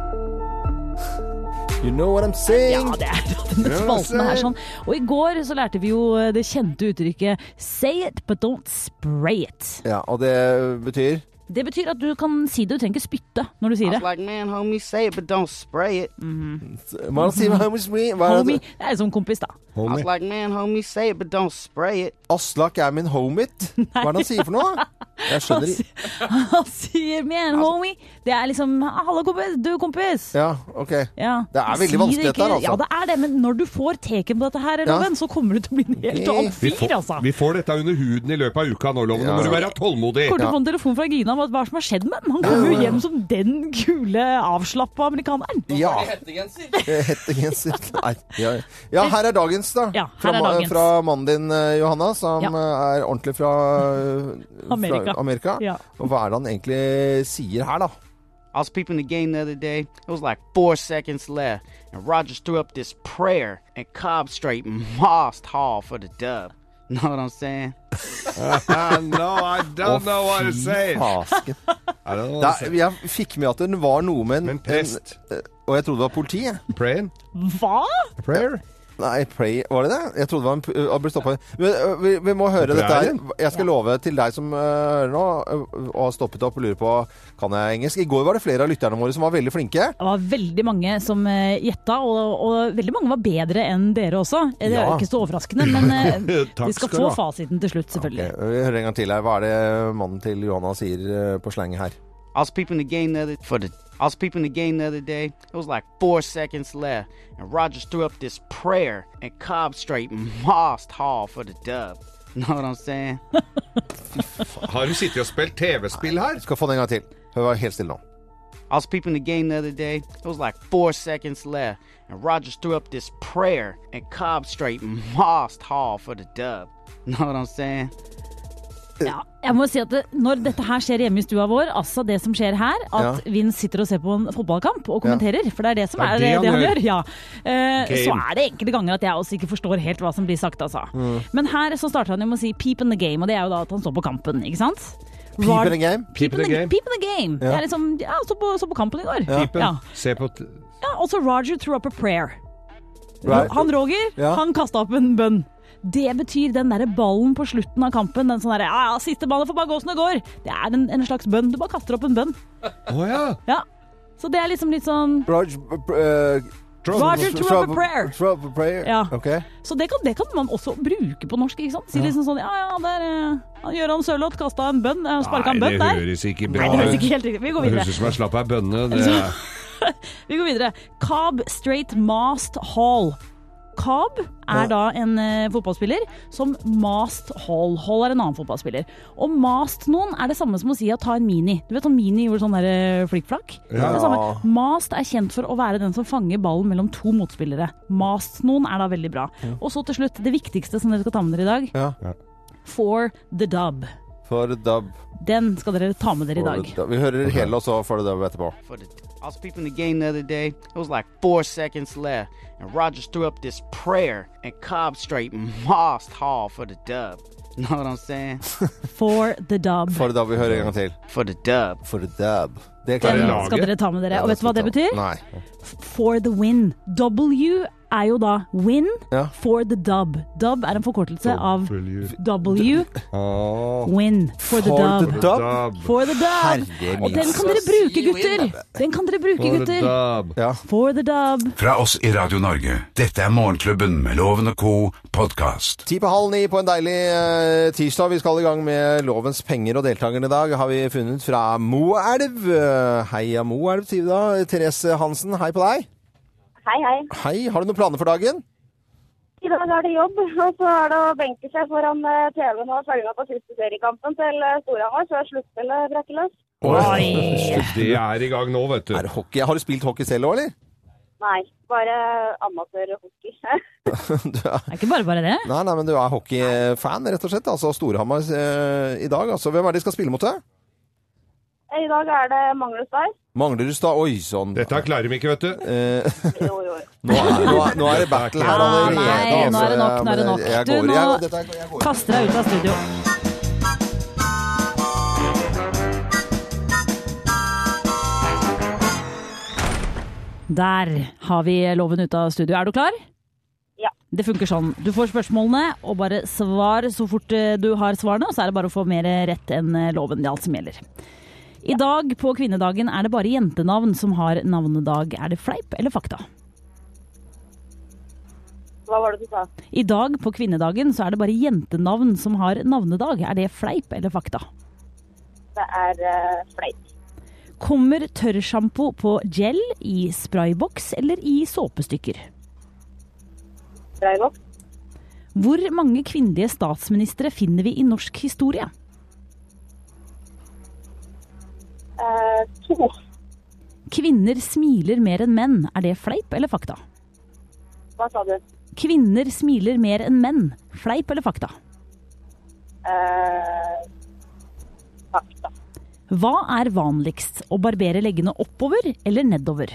Speaker 3: You know what I'm saying?
Speaker 4: Ja, det er denne spalten her sånn. Og i går så lærte vi jo eh, det kjente uttrykket 'say it, but don't spray it'.
Speaker 3: Ja, og det betyr
Speaker 4: Det betyr at du kan si det, du trenger ikke spytte når du sier
Speaker 10: I
Speaker 4: det.
Speaker 10: was like, man, homie, say it, but don't spray it.
Speaker 3: Hva er det han sier Hva er det?
Speaker 4: Homie, det er som kompis, da.
Speaker 10: I
Speaker 4: Altså,
Speaker 10: was like, man, homie, say it, but don't spray it.
Speaker 3: Aslak er min
Speaker 4: <laughs>
Speaker 3: homit. Hva er det han sier for noe? Jeg
Speaker 4: Han
Speaker 3: skjønner ikke.
Speaker 4: sier- Han sier 'man,
Speaker 3: Altså-
Speaker 4: homie'. Det er liksom 'hallo, kompis', 'du, kompis'.
Speaker 3: Ja, OK.
Speaker 4: Ja.
Speaker 3: Det er veldig
Speaker 4: Si
Speaker 3: vanskelig,
Speaker 4: ikke-
Speaker 3: dette her, altså.
Speaker 4: Ja, det er det, men når du får teken på dette her,
Speaker 3: Ja.
Speaker 4: Loven, så kommer du til å bli en helt annen
Speaker 5: Vi
Speaker 4: fyr,
Speaker 5: får,
Speaker 4: altså.
Speaker 5: vi får dette under huden i løpet av uka nå, Loven. Nå må
Speaker 3: Ja.
Speaker 5: du være tålmodig.
Speaker 4: Kommer til
Speaker 5: <laughs>
Speaker 4: å få en telefon fra Gina om at hva som har skjedd med ham. Han kommer jo hjem som den kule, avslappa amerikaneren.
Speaker 3: Ja. <laughs> Hettegenser. Nei. Ja. ja, her er dagens, da.
Speaker 4: Ja, her
Speaker 3: fra,
Speaker 4: er
Speaker 3: ma-
Speaker 4: dagens.
Speaker 3: fra mannen din, eh, Johanna, som
Speaker 4: Ja.
Speaker 3: eh, er ordentlig fra, eh,
Speaker 4: Amerika.
Speaker 3: fra Amerika.
Speaker 4: Ja.
Speaker 3: Og hva er det han egentlig sier her, da?
Speaker 10: I was peeping the game the other day. It was like four seconds left, and Rogers threw up this prayer, and Cobb straight <laughs> mossed Hall for the dub. Know what I'm saying?
Speaker 5: Ah, no, I don't know what to say.
Speaker 3: fasken.
Speaker 5: I don't know what to
Speaker 3: Da-
Speaker 5: say.
Speaker 3: Jeg fikk med at det var noe med en
Speaker 5: Men pest.
Speaker 3: en- eh, Og jeg trodde det var politi. jeg.
Speaker 5: Praying?
Speaker 4: Hva?
Speaker 5: Prayer?
Speaker 3: Nei, Pray, var det det? Jeg trodde det var en p- øh, ble stoppet. Men, øh, Vi, vi må høre dette her. Jeg skal love til deg som øh, hører nå, øh, og har stoppet opp og lurer på kan jeg engelsk. I går var det flere av lytterne våre som var veldig flinke.
Speaker 4: Det var veldig mange som eh, gjetta, og, og veldig mange var bedre enn dere også. Eh, Det er jo
Speaker 3: Ja.
Speaker 4: ikke så overraskende, men
Speaker 3: <laughs>
Speaker 4: eh,
Speaker 5: Takk
Speaker 4: vi skal
Speaker 5: skal
Speaker 4: få
Speaker 5: du ha.
Speaker 4: fasiten til slutt, selvfølgelig.
Speaker 3: Vi hører en gang til her. Hva er det mannen til Johanna sier øh, på slang her?
Speaker 10: I was peeping the game the other for the. I was peeping the game the other day. It was like four seconds left, and Rogers threw up this prayer, and Cobb straight mossed Hall for the dub. <laughs> Know what I'm saying?
Speaker 5: Har du sittet og spilt TV-spill her?
Speaker 3: Skal få den en gang til. Hun var helt stille nå.
Speaker 10: I was peeping the game the other day. It was like four seconds left, and Rogers threw up this prayer, and Cobb straight mossed Hall for the dub. <laughs> Know what I'm saying?
Speaker 4: Ja, jeg må si at det, Når dette her skjer hjemme i stua vår, altså det som skjer her, at Vince sitter og ser på en fotballkamp og kommenterer, for det er det som er det, det han gjør, ja. Eh, så er det enkelte ganger at jeg også ikke forstår helt hva som blir sagt, altså. Men her så starter han jo med å si 'peep in the game', og det er jo da at han står på kampen, ikke sant?
Speaker 3: Peep in the game.
Speaker 4: Peep in the game. Peep in the game. Det er liksom Ja, så på, så på kampen i går.
Speaker 5: Pipen?
Speaker 4: Ja.
Speaker 5: Se på t
Speaker 4: Ja, også Roger threw up a prayer.
Speaker 3: Right.
Speaker 4: Han Roger,
Speaker 3: Ja.
Speaker 4: han kasta opp en bønn. Det betyr den derre ballen på slutten av kampen. Den sånn derre ja, ja, siste ballen får bare gå som det går. Det er en, en slags bønn. Du bare kaster opp en bønn.
Speaker 5: Å ja!
Speaker 4: Ja. Så det er liksom litt sånn
Speaker 3: Roger, øh,
Speaker 4: Roger threw up a prayer.
Speaker 3: Threw up a prayer.
Speaker 4: Ja.
Speaker 3: Ok.
Speaker 4: Så det kan, det kan man også bruke på norsk, ikke sant? Si liksom sånn ja ja, der eh, han Gøran Sørloth kasta en bønn. eh, Sparka en
Speaker 5: Nei,
Speaker 4: bønn
Speaker 5: det
Speaker 4: der.
Speaker 5: høres ikke
Speaker 4: Nei,
Speaker 5: bra
Speaker 4: det høres
Speaker 5: ut.
Speaker 4: ikke helt riktig. Vi går
Speaker 5: Det
Speaker 4: videre.
Speaker 5: høres ut som jeg slapp ei bønne. Det er
Speaker 4: Vi går videre. Cobb Straight Mast Hall. Cobb er da en eh, fotballspiller som Mast Hall. Hall er en annen fotballspiller. Og mast noen er det samme som å si å ta en mini. Du vet om mini gjorde sånn der eh, flikkflakk? Det er det samme. Mast er kjent for å være den som fanger ballen mellom to motspillere. Mast noen er da veldig bra. Og så til slutt, det viktigste som dere skal ta med dere i dag.
Speaker 3: Ja.
Speaker 4: For the dub.
Speaker 3: For a dub.
Speaker 4: Den skal dere ta med dere i
Speaker 3: For a
Speaker 4: dag.
Speaker 3: dub. Vi hører hele, og så får du dub etterpå.
Speaker 10: For the, I was peeping the game the other day. It was like four seconds left, and Rogers threw up this prayer, and Cobb straight mossed Hall for the dub. <laughs> Know what I'm saying?
Speaker 3: <laughs>
Speaker 4: For the dub.
Speaker 3: For a dub. Vi hører en gang til.
Speaker 10: for the dub.
Speaker 3: For a dub. Det
Speaker 4: Den
Speaker 3: klarer jeg.
Speaker 4: skal dere ta med dere. Og vet du hva det betyr?
Speaker 3: Nei.
Speaker 4: for the win. W er jo da win
Speaker 3: Ja.
Speaker 4: for the dub. Dub er en forkortelse av W,
Speaker 5: Å,
Speaker 4: win for the
Speaker 3: For
Speaker 4: dub.
Speaker 3: the dub.
Speaker 5: dab.
Speaker 4: For the dub.
Speaker 3: Herre
Speaker 4: Og den kan dere bruke, gutter! Den kan dere bruke,
Speaker 5: For
Speaker 4: gutter.
Speaker 5: dab.
Speaker 3: Ja.
Speaker 4: For the dub.
Speaker 2: Fra oss i Radio Norge. Dette er Morgenklubben med Loven og co. podkast.
Speaker 3: Ti på halv ni på en deilig eh, tirsdag. Vi skal i gang med Lovens penger og deltakerne i dag. Har vi funnet fra Moelv. Eh, Heia Moelv, sier vi da. Therese Hansen, hei på deg.
Speaker 11: Hei, hei.
Speaker 3: Hei, har du noen planer for dagen?
Speaker 11: I dag er det jobb, <laughs> og så er det å benke seg foran eh, TV-en og følge med på siste seriekampen til eh, Storhamar før sluttspillet brekker løs.
Speaker 5: Det er i gang nå, vet du.
Speaker 3: Er det hockey? Har du spilt hockey selv òg, eller? <laughs>
Speaker 11: Nei, bare amatørhockey. <laughs>
Speaker 4: Det er ikke bare bare det.
Speaker 3: Nei, nei, men du er hockeyfan, rett og slett. Altså Storhamar eh, i dag. Altså, hvem er det de skal spille mot? deg?
Speaker 11: I dag er det Manglestad.
Speaker 3: Manglerudstad. Oi sånn. Dette
Speaker 5: klarer vi ikke, vet du.
Speaker 11: Jo, jo, jo.
Speaker 3: nå, er, nå, er, nå er det battle her allerede.
Speaker 4: Nei, nå er det nok,
Speaker 3: altså.
Speaker 4: nå er det nok.
Speaker 3: Jeg
Speaker 4: Du,
Speaker 3: går,
Speaker 4: nå
Speaker 3: jeg, dette,
Speaker 4: kaster deg ut av studio. Der har vi loven ut av studio. Er du klar?
Speaker 11: Ja.
Speaker 4: Det funker sånn. Du får spørsmålene, og bare svar så fort eh, du har svarene. Og så er det bare å få mer rett enn eh, loven. Det er alt som gjelder. I dag på kvinnedagen er det bare jentenavn som har navnedag. Er det fleip eller fakta?
Speaker 11: Hva var det du sa?
Speaker 4: I dag på kvinnedagen så er det bare jentenavn som har navnedag. Er det fleip eller fakta?
Speaker 11: Det er eh, fleip.
Speaker 4: Kommer tørrsjampo på gel, i sprayboks eller i såpestykker?
Speaker 11: Dreivoks.
Speaker 4: Hvor mange kvinnelige statsministre finner vi i norsk historie?
Speaker 11: Eh, to.
Speaker 4: Kvinner smiler mer enn menn. Er det fleip eller fakta?
Speaker 11: Hva sa du?
Speaker 4: Kvinner smiler mer enn menn. Fleip eller fakta?
Speaker 11: Eh, fakta.
Speaker 4: Hva er vanligst, å barbere leggene oppover eller nedover?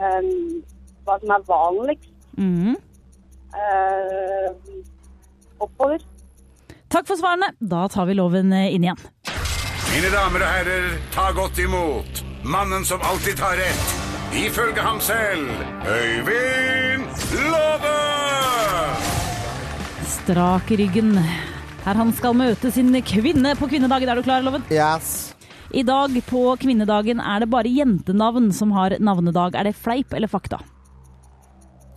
Speaker 11: Um, hva som er vanligst.
Speaker 4: Mhm.
Speaker 11: Eh, oppover.
Speaker 4: Takk for svarene. Da tar vi loven eh, inn igjen.
Speaker 2: Mine damer og herrer, ta godt imot mannen som alltid tar rett, ifølge ham selv, Øyvind Låve!
Speaker 4: Strak i ryggen. Her han skal møte sin kvinne på kvinnedagen. Er du klar, Loven?
Speaker 3: Yes.
Speaker 4: I dag på kvinnedagen er det bare jentenavn som har navnedag. Er det fleip eller fakta?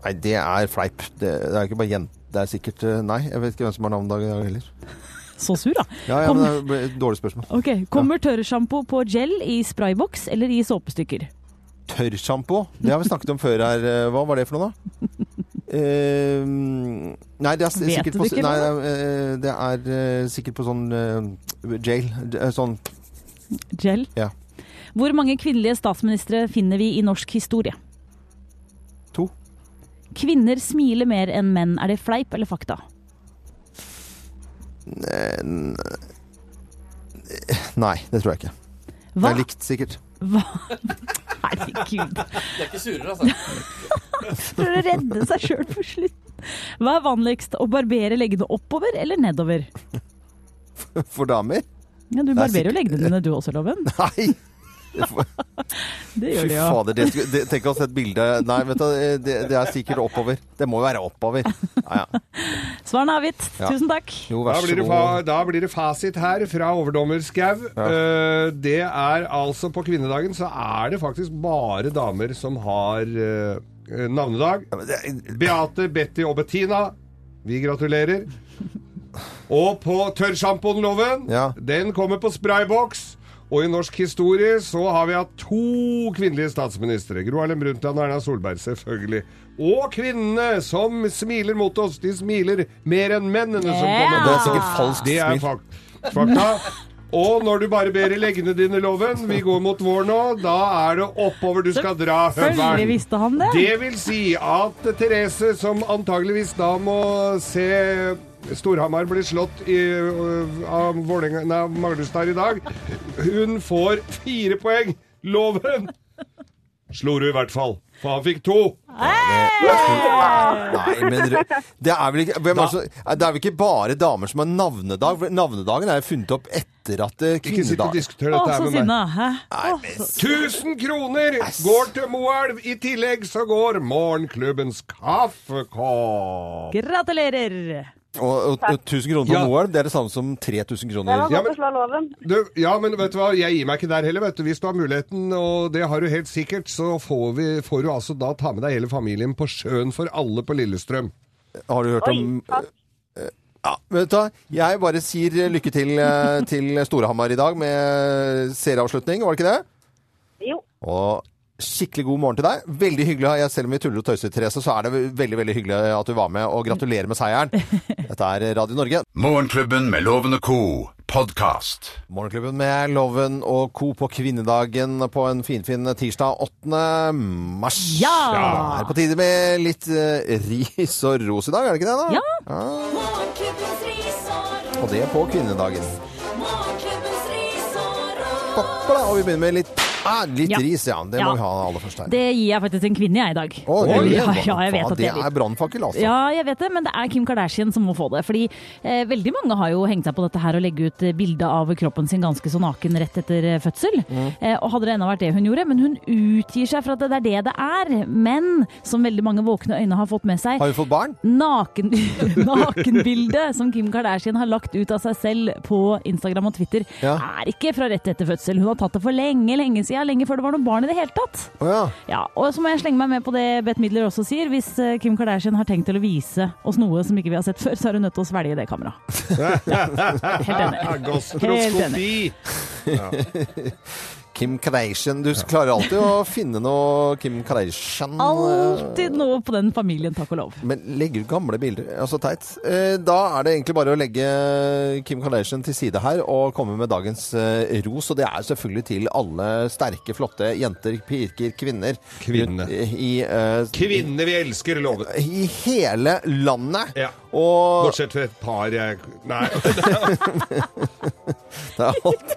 Speaker 3: Nei, det er fleip. Det, det er ikke bare jente. Det er sikkert eh, Nei, jeg vet ikke hvem som har navnedag i dag heller.
Speaker 4: Så sur, da.
Speaker 3: Ja, ja,
Speaker 4: Kom.
Speaker 3: men det ble et dårlig spørsmål.
Speaker 4: Ok, Kommer tørrsjampo på gel, i sprayboks eller i såpestykker?
Speaker 3: Tørrsjampo, det har vi snakket om før her. Eh, Hva var det for noe, da? Eh, nei, det er s-
Speaker 4: Vet
Speaker 3: sikkert
Speaker 4: du
Speaker 3: på,
Speaker 4: ikke,
Speaker 3: nei,
Speaker 4: Loven?
Speaker 3: eh, det er eh, sikkert på sånn eh, jail. eh, Sånn
Speaker 4: Gel.
Speaker 3: Ja.
Speaker 4: Hvor mange kvinnelige statsministre finner vi i norsk historie?
Speaker 3: To.
Speaker 4: Kvinner smiler mer enn menn. Er det fleip eller fakta?
Speaker 3: Eh, n- eh, Nei, det tror jeg ikke. Det
Speaker 4: Hva?
Speaker 3: er likt, sikkert. <laughs>
Speaker 4: Hva?
Speaker 12: <laughs>
Speaker 4: Herregud.
Speaker 12: Det er ikke surere, altså.
Speaker 4: <laughs> For å redde seg sjøl på slutten. Hva er vanligst, å barbere leggene oppover eller nedover?
Speaker 3: For damer?
Speaker 4: Ja, Du
Speaker 3: Nei,
Speaker 4: barberer jo
Speaker 3: sikkert-
Speaker 4: leggene dine du også, Loven.
Speaker 3: Nei!
Speaker 4: Det
Speaker 3: Fy
Speaker 4: gjør du jo.
Speaker 3: fader, det, skulle- det, tenk å se et bilde Nei, vet du, eh, det, det er sikkert oppover. Det må jo være oppover. Ja, ja.
Speaker 4: Svarene er avgitt.
Speaker 3: Ja.
Speaker 4: Tusen takk.
Speaker 3: Jo,
Speaker 5: Da
Speaker 3: vær
Speaker 5: blir,
Speaker 3: så
Speaker 5: det fa
Speaker 3: god.
Speaker 5: da blir det fasit her fra overdommer Skau. Eh, det er altså på kvinnedagen så er det faktisk bare damer som har eh, eh, navnedag. Beate, Betty og Bettina, vi gratulerer. Og på tørrsjampoen-loven,
Speaker 3: Ja.
Speaker 5: den kommer på sprayboks. Og i norsk historie så har vi hatt to kvinnelige statsministre. Gro Harlem Brundtland og Erna Solberg, selvfølgelig. Og kvinnene som smiler mot oss. De smiler mer enn mennene som
Speaker 4: Ja. Det er
Speaker 5: kommer. mot oss.
Speaker 4: sikkert falskt
Speaker 5: Det er
Speaker 4: smil.
Speaker 5: fak fakta. Og når du bare ber i leggene dine, Loven, vi går mot vår nå, da er det oppover du skal dra,
Speaker 4: Selvfølgelig
Speaker 5: høveren.
Speaker 4: visste han det.
Speaker 5: Det vil si at Therese, som antageligvis da må se Storhamar bli slått i, øh, av Vålerenga- nei, av Magnustad i dag, hun får fire poeng. Loven slo du i hvert fall, for han fikk to.
Speaker 3: Nei, men rø- det er vel ikke hvem er det som- Det er vel ikke bare damer som har navnedag? For navnedagen er jo funnet opp etter at eh,
Speaker 5: Ikke sitt og
Speaker 3: kvinnedag
Speaker 5: diskuter
Speaker 4: Å,
Speaker 5: dette her
Speaker 4: så
Speaker 5: med meg.
Speaker 4: sinna. Hæ? Å, så-
Speaker 5: 1000 kroner går til Moelv. I tillegg så går morgenklubbens kaffekopp.
Speaker 4: Gratulerer.
Speaker 3: Og, og, og 1000 kroner på
Speaker 5: Ja.
Speaker 3: Moelv, det er det samme som 3000
Speaker 11: Det var
Speaker 3: kroner.
Speaker 11: godt
Speaker 5: Ja, men-
Speaker 11: å slå loven.
Speaker 5: Du, ja, men vet du hva, jeg gir meg ikke der heller, vet du. Hvis du har muligheten, og det har du helt sikkert, så får, vi, får du altså da ta med deg hele familien på sjøen for alle på Lillestrøm.
Speaker 3: Har du hørt
Speaker 11: Oi,
Speaker 3: om
Speaker 11: takk.
Speaker 3: ja, Vet du hva, jeg bare sier eh, lykke til eh, til Storhamar i dag med serieavslutning, var det ikke det?
Speaker 11: Jo.
Speaker 3: Og skikkelig god morgen til deg. Veldig hyggelig. Jeg, selv om vi tuller og tøyser, Therese, så er det veldig veldig hyggelig
Speaker 4: <laughs>
Speaker 3: at du var med, og gratulerer med seieren. Dette er Radio Norge.
Speaker 2: Morgenklubben med Loven og Co. podkast.
Speaker 3: Morgenklubben med Loven og Co. på kvinnedagen på en finfin tirsdag 8. mars.
Speaker 4: Ja!
Speaker 3: Det er på tide med litt eh, ris og ros i dag, er det ikke det? da?
Speaker 4: Ja.
Speaker 1: Morgenklubbens ris og ros.
Speaker 3: Og det på kvinnedagen.
Speaker 1: Morgenklubbens ris og ros.
Speaker 3: Hoppla, og vi begynner med litt, ah, litt
Speaker 4: Ja.
Speaker 3: ris. Ja, det
Speaker 4: Ja.
Speaker 3: må vi ha aller først her.
Speaker 4: Det gir jeg faktisk en kvinne jeg i dag.
Speaker 3: Oi,
Speaker 4: ja, ja, jeg vet
Speaker 3: faen,
Speaker 4: at det er litt
Speaker 3: er brannfakkel, altså.
Speaker 4: Ja, jeg vet det, men det er Kim Kardashian som må få det. Fordi eh, veldig mange har jo hengt seg på dette her og legge ut eh, bilde av kroppen sin ganske så naken rett etter eh, fødsel. Eh, og hadde det ennå vært det hun gjorde, men hun utgir seg for at det er det det er. Men som veldig mange våkne øyne har fått med seg
Speaker 3: Har hun fått barn?
Speaker 4: Naken, <laughs> nakenbildet som Kim Kardashian har lagt ut av seg selv på Instagram og Twitter,
Speaker 3: Ja.
Speaker 4: er ikke fra rett etter fødsel. Hun har tatt det for lenge, lenge siden. Lenge før det var noe barn i det hele tatt.
Speaker 3: Å ja.
Speaker 4: Ja, og så må jeg slenge meg med på det Bette Midler også sier. Hvis eh, Kim Kardashian har tenkt til å vise oss noe som ikke vi har sett før, så er hun nødt til å svelge det kameraet.
Speaker 5: Gastroskopi!
Speaker 3: Kim Kardashian. Du klarer alltid å finne noe Kim Kardashian.
Speaker 4: Alltid noe på den familien, takk og lov.
Speaker 3: Men legger ut gamle bilder. Ja, så teit. Eh, Da er det egentlig bare å legge Kim Kardashian til side her og komme med dagens eh, ros. Og det er selvfølgelig til alle sterke, flotte jenter, pirker, kvinner.
Speaker 5: Kvinne.
Speaker 3: rundt I, eh,
Speaker 5: Kvinner vi elsker, loven.
Speaker 3: I hele landet.
Speaker 5: Ja.
Speaker 3: Og <laughs>
Speaker 5: Bortsett fra et par jeg Nei,
Speaker 3: Det er alt.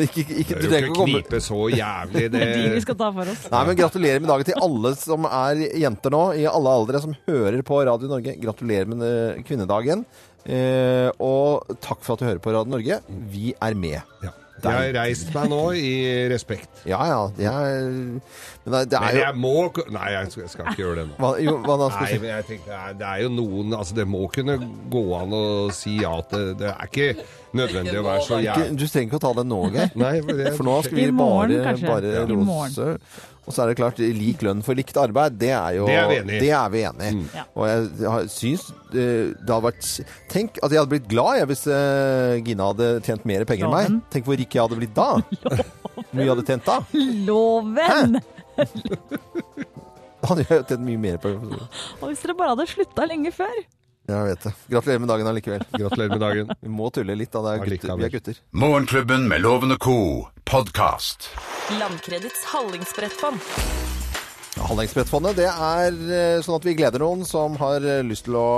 Speaker 3: Ikke, ikke,
Speaker 5: det
Speaker 3: du trenger ikke
Speaker 5: er jo ikke
Speaker 3: å komme
Speaker 5: knipe så jævlig,
Speaker 4: Det
Speaker 5: det
Speaker 4: er de vi skal ta for oss.
Speaker 3: Nei, men Gratulerer med dagen til alle som er jenter nå, i alle aldre, som hører på Radio Norge. Gratulerer med eh, kvinnedagen. Eh, og takk for at du hører på Radio Norge. Vi er med.
Speaker 5: Ja. Jeg har reist meg nå i respekt.
Speaker 3: Ja ja, det er Men det, det er
Speaker 5: Men
Speaker 3: jo
Speaker 5: jeg må Nei, jeg skal, jeg skal ikke gjøre det nå.
Speaker 3: hva, jo, hva da skal
Speaker 5: Nei,
Speaker 3: du si?
Speaker 5: men jeg tenkte, det er- det er jo noen Altså, det må kunne gå an å si ja til Det er ikke nødvendig å være så
Speaker 3: Ikke-
Speaker 5: jævlig
Speaker 3: Du trenger ikke å ta den nå, Geir.
Speaker 5: Nei, for det
Speaker 3: For nå skal vi
Speaker 4: I morgen,
Speaker 3: bare,
Speaker 4: kanskje.
Speaker 3: bare
Speaker 4: Ja. I morgen.
Speaker 3: rose. Og så er det klart, lik lønn for likt arbeid, det er jo
Speaker 5: Det er vi enig i. Mm.
Speaker 3: det er vi enig i.
Speaker 4: Ja.
Speaker 3: Og jeg har- syns eh, det hadde vært Tenk at jeg hadde blitt glad jeg, hvis eh, Gina hadde tjent mer penger enn meg.
Speaker 4: Loven.
Speaker 3: Tenk hvor rik jeg hadde blitt
Speaker 4: <laughs>
Speaker 3: da. Hvor mye jeg hadde tjent da?
Speaker 4: Loven!
Speaker 3: Da hadde jeg tjent mye mer penger.
Speaker 4: Og hvis dere bare hadde slutta lenge før.
Speaker 3: Jeg vet det. Gratulerer med dagen allikevel.
Speaker 5: Gratulerer med dagen.
Speaker 3: Vi må tulle litt, da. Det er gutter. Vi er gutter.
Speaker 2: Morgenklubben med Loven og Co. podkast.
Speaker 13: Landkredits hallingsbrettfond.
Speaker 3: Handlingsbrettfondet, det er eh, sånn at vi gleder noen som har eh, lyst til å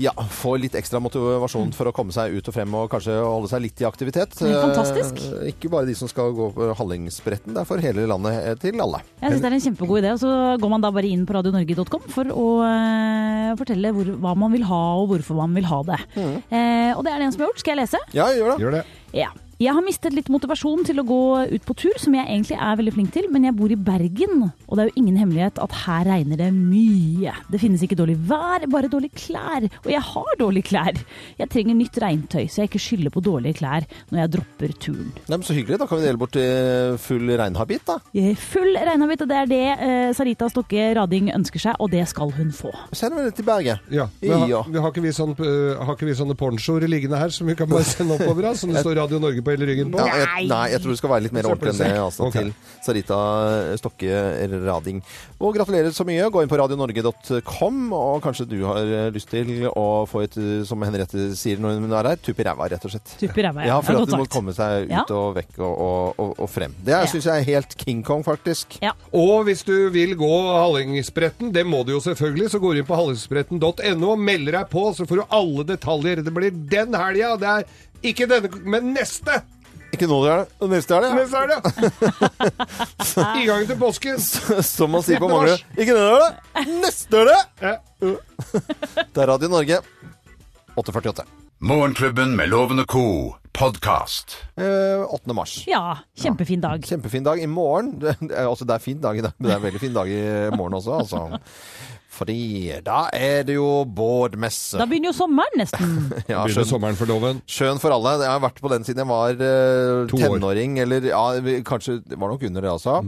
Speaker 3: ja, få litt ekstra motivasjon for å komme seg ut og frem og kanskje holde seg litt i aktivitet.
Speaker 4: Det er fantastisk.
Speaker 3: Eh, Ikke bare de som skal gå på Hallingsbretten, det er for hele landet eh, til alle.
Speaker 4: Jeg syns det er en kjempegod idé. Og så går man da bare inn på radionorge.com for å eh, fortelle hvor, hva man vil ha, og hvorfor man vil ha det. Eh, og det er det en som har gjort. Skal jeg lese?
Speaker 3: Ja, gjør det.
Speaker 5: Gjør det.
Speaker 4: Ja. Jeg har mistet litt motivasjon til å gå ut på tur, som jeg egentlig er veldig flink til, men jeg bor i Bergen, og det er jo ingen hemmelighet at her regner det mye. Det finnes ikke dårlig vær, bare dårlige klær, og jeg har dårlige klær. Jeg trenger nytt regntøy, så jeg ikke skylder på dårlige klær når jeg dropper turen.
Speaker 3: Nei, men så hyggelig, da kan vi dele bort eh, full regnhabit, da.
Speaker 4: Jeg er Full regnhabitt, og det er det eh, Sarita Stokke Rading ønsker seg, og det skal hun få.
Speaker 3: Send meg det til Berge.
Speaker 5: Ja, men
Speaker 3: Ja.
Speaker 5: har, vi har, ikke vi sånn, øh, har ikke vi sånne ponchoer liggende her som vi kan bare sende oppover av? Som det står Radio Norge på hele ryggen på?
Speaker 3: Ja, jeg, nei, jeg tror det skal være litt mer ordentlig enn det. Altså,
Speaker 5: Ok.
Speaker 3: Til Sarita Stokke Rading. Og gratulerer så mye. Gå inn på radionorge.com, og kanskje du har eh, lyst til å få et, eh, som Henriette sier når hun er her, tupp i ræva, rett og slett.
Speaker 4: Tupp i ræva, ja.
Speaker 3: Ja,
Speaker 4: Det
Speaker 3: for
Speaker 4: er
Speaker 3: at
Speaker 4: godt
Speaker 3: du må
Speaker 4: sagt.
Speaker 3: komme seg ut
Speaker 4: Ja.
Speaker 3: og vekk og, og, og, og frem. Det syns jeg er helt King Kong, faktisk.
Speaker 4: Ja.
Speaker 5: Og hvis du vil gå Hallingsbretten, det må du jo selvfølgelig, så går du inn på hallingsbretten.no og melder deg på, så får du alle detaljer. Det blir den helga, det er ikke denne, men neste!
Speaker 3: Ikke nå det er det. Og Neste er det. <laughs>
Speaker 5: Neste er det! <laughs> I gang til påsken!
Speaker 3: Som man sier på
Speaker 5: Neste
Speaker 3: Manglerud.
Speaker 5: mars.
Speaker 3: Ikke nå er det. Neste er det!
Speaker 5: Ja.
Speaker 3: Det er Radio Norge. 848.
Speaker 2: Morgenklubben med Loven og Co. podkast.
Speaker 3: Eh, 8. mars.
Speaker 4: Ja, kjempefin dag.
Speaker 3: Kjempefin dag i morgen. <laughs> Det er, altså, det er fin dag i dag, men det er en veldig fin dag i morgen også,
Speaker 4: <laughs>
Speaker 3: altså. Fordi da er det jo båtmesse.
Speaker 4: Da begynner jo sommeren nesten.
Speaker 3: <laughs> Ja,
Speaker 5: Begynner
Speaker 3: skjønn,
Speaker 5: sommeren for loven.
Speaker 3: skjønn for alle. Jeg har vært på den siden jeg var eh,
Speaker 5: To år. Mm.
Speaker 3: tenåring, eller ja, vi- kanskje det var nok under det også.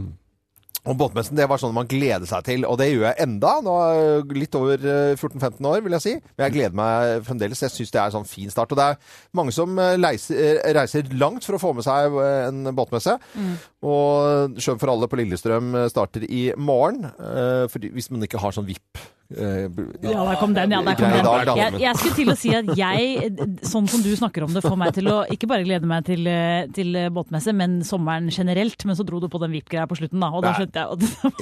Speaker 3: Og båtmessen, det var sånn man gleder seg til, og det gjør jeg enda. Nå er jeg litt over eh, 14-15 år, vil jeg si. Men jeg gleder meg fremdeles. Jeg syns det er en sånn fin start. Og det er mange som eh, leiser, eh, reiser langt for å få med seg eh, en båtmesse. Og Sjøen for alle på Lillestrøm eh, starter i morgen. eh, Fordi hvis man ikke har sånn VIP eh,
Speaker 4: Ja, der kom den. ja, der kom
Speaker 3: greie dag, da,
Speaker 4: den. Jeg,
Speaker 3: men-
Speaker 4: jeg skulle til å si at jeg, sånn som du snakker om det, får meg til å ikke bare glede meg til, eh, til eh, båtmesse, men sommeren generelt. Men så dro du på den VIP-greia på slutten, da, og da
Speaker 3: Nei.
Speaker 4: skjønte jeg at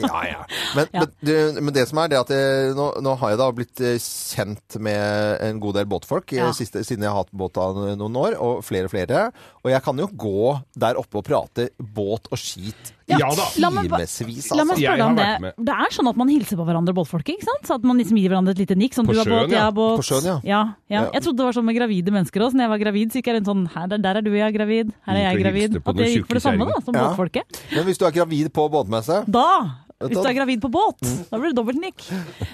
Speaker 3: Ja, ja. Men, men, du, men det som er det at jeg, nå, nå har jeg da blitt eh, kjent med en god del båtfolk eh,
Speaker 4: Ja.
Speaker 3: siste, siden jeg har hatt båt av noen år, og flere og flere. Og jeg kan jo gå der oppe og prate båt og skit i
Speaker 4: La meg, ba-
Speaker 3: timevis. altså.
Speaker 4: la meg spørre om
Speaker 3: med.
Speaker 4: det. Det er sånn at man hilser på hverandre, båtfolket? ikke sant? Så at man liksom gir hverandre et lite nikk. Sånn,
Speaker 3: På
Speaker 4: du har
Speaker 3: sjøen,
Speaker 4: båt, jeg
Speaker 3: ja.
Speaker 4: har båt.
Speaker 3: På sjøen, ja.
Speaker 4: Ja, ja.
Speaker 3: Ja.
Speaker 4: Jeg trodde det var sånn med gravide mennesker også. Når jeg var gravid, så gikk jeg rundt sånn her, Der er du, jeg er gravid. Her er jeg
Speaker 3: Gikk og
Speaker 4: gravid.
Speaker 3: hilste på
Speaker 4: At det
Speaker 3: noen
Speaker 4: gikk for det samme da, som
Speaker 3: Ja.
Speaker 4: båtfolket.
Speaker 3: Men hvis du er gravid på båtmesse
Speaker 4: Da! Hvis du er gravid på båt, da blir det dobbeltnikk.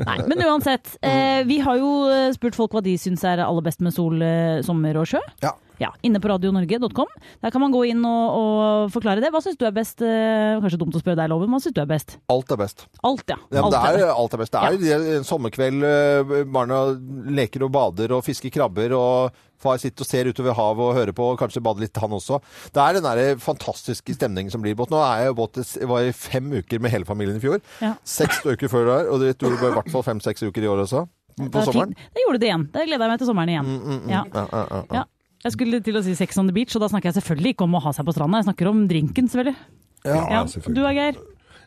Speaker 4: Nei, men uansett.
Speaker 3: Mm.
Speaker 4: Eh, vi har jo eh, spurt folk hva de syns er aller best med sol, eh, sommer og sjø.
Speaker 3: Ja.
Speaker 4: Inne på radionorge.com. Der kan man gå inn og, og forklare det. Hva syns du er best? Eh, kanskje dumt å spørre deg, Loven. Hva syns du er best?
Speaker 3: Alt er best.
Speaker 4: Alt, ja.
Speaker 3: Ja, men
Speaker 4: Alt er
Speaker 3: det er
Speaker 4: det.
Speaker 3: alt er best. Det er en sommerkveld, eh, barna leker og bader og fisker krabber, og far sitter og ser utover havet og hører på, og kanskje bader litt han også. Det er den der fantastiske stemningen som blir i båt. Nå er jeg jo båt jeg var i fem uker med hele familien i fjor.
Speaker 4: Ja.
Speaker 3: Seks uker før der, og det tror jeg var i hvert fall fem-seks uker i år også.
Speaker 4: Det
Speaker 3: På
Speaker 4: er
Speaker 3: sommeren. Mm,
Speaker 4: fint. Da gjorde du det igjen. Da gleder jeg meg til sommeren igjen. Ja.
Speaker 3: Ja, ja, ja, ja.
Speaker 4: Ja. Jeg skulle til å si sex on the beach, og da snakker jeg selvfølgelig ikke om å ha seg på stranda. Jeg snakker om drinken, selvfølgelig.
Speaker 5: Ja, selvfølgelig.
Speaker 4: Du er Geir.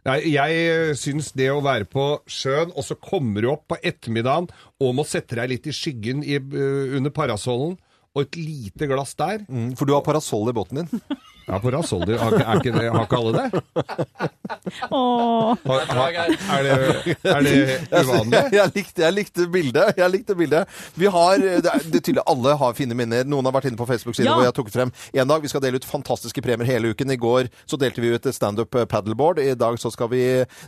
Speaker 5: Nei, jeg eh, syns det å være på sjøen, og så kommer du opp på ettermiddagen og må sette deg litt i skyggen i, eh, under parasollen, og et lite glass der
Speaker 3: Mm, For du har parasoll i båten din?
Speaker 5: Mm. Ja, parasoll. du, Har, ikke- er ikke det- har ikke alle det?
Speaker 4: Åh.
Speaker 5: Har, har, er det, er <laughs> det
Speaker 3: <laughs>
Speaker 5: uvanlig?
Speaker 3: Jeg, likte, jeg likte bildet. Jeg likte bildet. Vi har, eh, det er, det er tydelig alle har fine minner. Noen har vært inne på Facebook-siden
Speaker 5: Ja.
Speaker 3: hvor jeg tok frem en dag. Vi skal dele ut fantastiske premier hele uken. I går så delte vi ut et standup eh, paddleboard. I dag så skal vi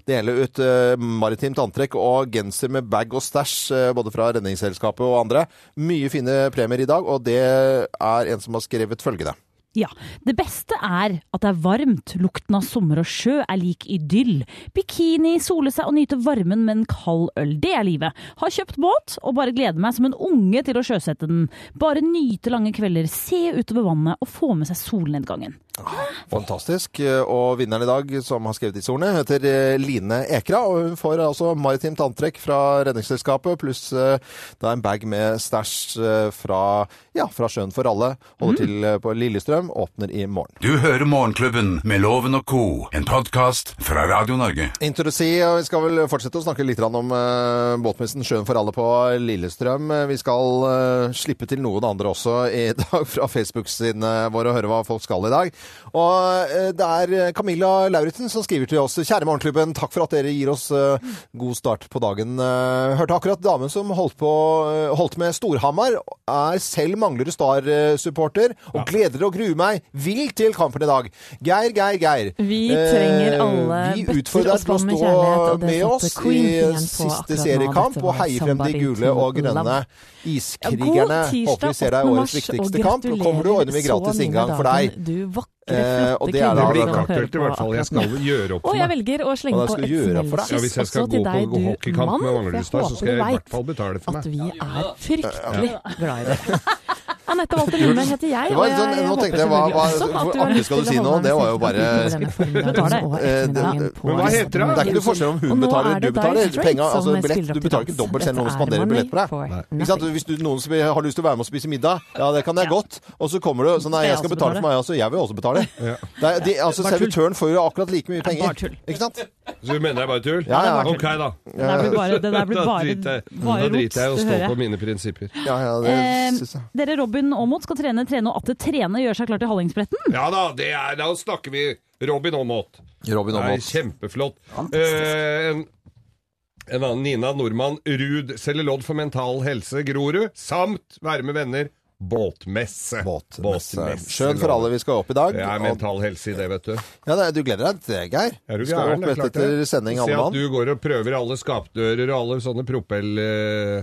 Speaker 3: dele ut eh, maritimt antrekk og genser med bag og stæsj, eh, både fra Redningsselskapet og andre. Mye fine premier i dag, og det er en som har skrevet følgende.
Speaker 4: Ja. Det beste er at det er varmt, lukten av sommer og sjø er lik idyll. Bikini, sole seg og nyte varmen med en kald øl. Det er livet. Har kjøpt båt og bare gleder meg som en unge til å sjøsette den. Bare nyte lange kvelder, se utover vannet og få med seg solnedgangen.
Speaker 3: Fantastisk. Og vinneren i dag, som har skrevet disse ordene, heter eh, Line Ekra. Og hun får altså maritimt antrekk fra Redningsselskapet, pluss eh, da en bag med stæsj eh, fra, ja, fra Sjøen for alle. Holder til eh, på Lillestrøm. Åpner i morgen.
Speaker 2: Du hører Morgenklubben med Loven og co., en podkast fra Radio Norge.
Speaker 3: Introdusi, og vi skal vel fortsette å snakke litt grann om eh, båtmessen Sjøen for alle på Lillestrøm. Eh, Vi skal eh, slippe til noen andre også i dag fra Facebook-sidene våre og høre hva folk skal i dag. Og eh, det er Camilla Lauritzen som skriver til oss. Kjære Morgenklubben, takk for at dere gir oss eh, god start på dagen. Eh, hørte akkurat damen som holdt, på, eh, holdt med Storhamar, er selv Manglerud Star-supporter, og gleder og gruer meg vilt til kampen i dag. Geir, Geir, Geir.
Speaker 6: Vi
Speaker 3: Eh,
Speaker 6: trenger alle
Speaker 3: Vi
Speaker 6: bøtter
Speaker 3: utfordrer
Speaker 6: og
Speaker 3: deg til å
Speaker 6: spann med
Speaker 3: stå
Speaker 6: kjærlighet, og det
Speaker 3: med
Speaker 6: satte
Speaker 3: oss i
Speaker 6: Queen igjen på akkurat
Speaker 3: siste
Speaker 6: nå.
Speaker 3: seriekamp
Speaker 6: Dette
Speaker 3: og
Speaker 6: var
Speaker 3: heie frem de
Speaker 6: Somebody
Speaker 3: gule
Speaker 6: to
Speaker 3: og grønne
Speaker 6: love.
Speaker 3: iskrigerne.
Speaker 6: tirsdag,
Speaker 3: Håper vi ser deg
Speaker 6: 8.
Speaker 3: i
Speaker 6: mars,
Speaker 3: årets
Speaker 6: og
Speaker 3: viktigste kamp. Nå kommer du og ordner vi
Speaker 6: gratulerer så
Speaker 3: gratis
Speaker 6: mye med
Speaker 3: inngang for deg.
Speaker 6: dagen, du vakre,
Speaker 3: Eh, og
Speaker 6: flotte
Speaker 3: det er
Speaker 5: Det
Speaker 3: da-
Speaker 5: blir kakkelt i hvert fall. Jeg skal gjøre opp
Speaker 6: Og
Speaker 5: for
Speaker 6: jeg
Speaker 5: meg.
Speaker 6: velger å slenge
Speaker 5: Hva
Speaker 6: på
Speaker 5: skal
Speaker 6: et
Speaker 5: du gjøre for deg? Ja,
Speaker 6: smellkyss
Speaker 5: hvis jeg skal
Speaker 6: også
Speaker 5: gå
Speaker 6: til
Speaker 5: på
Speaker 6: deg, du
Speaker 5: hockeykamp
Speaker 6: mann.
Speaker 5: med
Speaker 6: For
Speaker 5: Manglerud
Speaker 6: jeg
Speaker 5: Star, så
Speaker 6: håper
Speaker 5: skal jeg i
Speaker 6: du
Speaker 5: hvert fall betale
Speaker 6: veit
Speaker 5: for meg.
Speaker 6: at vi er fryktelig
Speaker 5: Ja.
Speaker 6: glad i deg. Anette Walter-Nyman heter jeg.
Speaker 3: Det var litt
Speaker 6: og
Speaker 3: sånn,
Speaker 6: jeg
Speaker 3: nå
Speaker 6: håper
Speaker 3: tenkte jeg hva, hva
Speaker 6: selvfølgelig også at du er
Speaker 3: for
Speaker 6: har
Speaker 3: Anne
Speaker 6: lyst
Speaker 3: skal du
Speaker 6: til
Speaker 3: si
Speaker 6: å
Speaker 3: nå?
Speaker 6: holde
Speaker 3: Det var jo
Speaker 6: en
Speaker 3: bare
Speaker 6: selfie utover denne formiddagen og
Speaker 3: Eh, det-
Speaker 6: ettermiddagen
Speaker 3: det-
Speaker 6: på
Speaker 3: Men hva
Speaker 6: Disney+.
Speaker 3: heter det? Det er ikke noe
Speaker 5: altså,
Speaker 3: forskjell om hun betaler, du betaler. Penger, altså billett, du betaler ikke dobbelt selv om noen spanderer billett på deg. Ikke sant? Hvis du, noen sp- har lyst til å være med og spise middag, ja, det kan jeg godt. Og så kommer du sånn, nei, jeg
Speaker 5: Jeg
Speaker 3: skal
Speaker 5: også
Speaker 3: betale for meg
Speaker 5: betaler.
Speaker 3: også. Jeg vil også betale. Det er, de, altså,
Speaker 5: Bare tull.
Speaker 3: servitøren får jo akkurat like mye penger. Ikke sant?
Speaker 5: Så du mener det er bare tull?
Speaker 3: Ja, ja.
Speaker 5: Ok, da.
Speaker 3: Det der
Speaker 5: <laughs>
Speaker 3: blir bare- det der blir
Speaker 5: Da
Speaker 4: bare-
Speaker 5: driter jeg-
Speaker 4: bare
Speaker 5: Da driter jeg i
Speaker 4: rot,
Speaker 5: å
Speaker 4: det
Speaker 5: stå
Speaker 4: hører
Speaker 5: på
Speaker 4: jeg.
Speaker 5: mine prinsipper.
Speaker 3: Ja, ja,
Speaker 4: Eh, dere Robin Aamodt skal trene, trene og atter trene, gjøre seg klar til Hallingsbretten.
Speaker 5: Ja da, det er, da snakker vi Robin Aamodt.
Speaker 3: Robin
Speaker 5: Det er Kjempeflott. Eh, en, en annen Nina Nordmann Ruud selger lodd for Mental Helse Grorud, samt Være med venner båtmesse. Båtmesse.
Speaker 3: Sjøen for alle vi skal opp i dag.
Speaker 5: Det er
Speaker 3: og-
Speaker 5: mental helse i det, vet du.
Speaker 3: Ja, det- du gleder deg til det, Geir.
Speaker 5: Er du
Speaker 3: Skal
Speaker 5: gæren?
Speaker 3: opp rett etter sending, alle mann.
Speaker 5: Se at du går og prøver alle skapdører og alle sånne propell... eh, eh,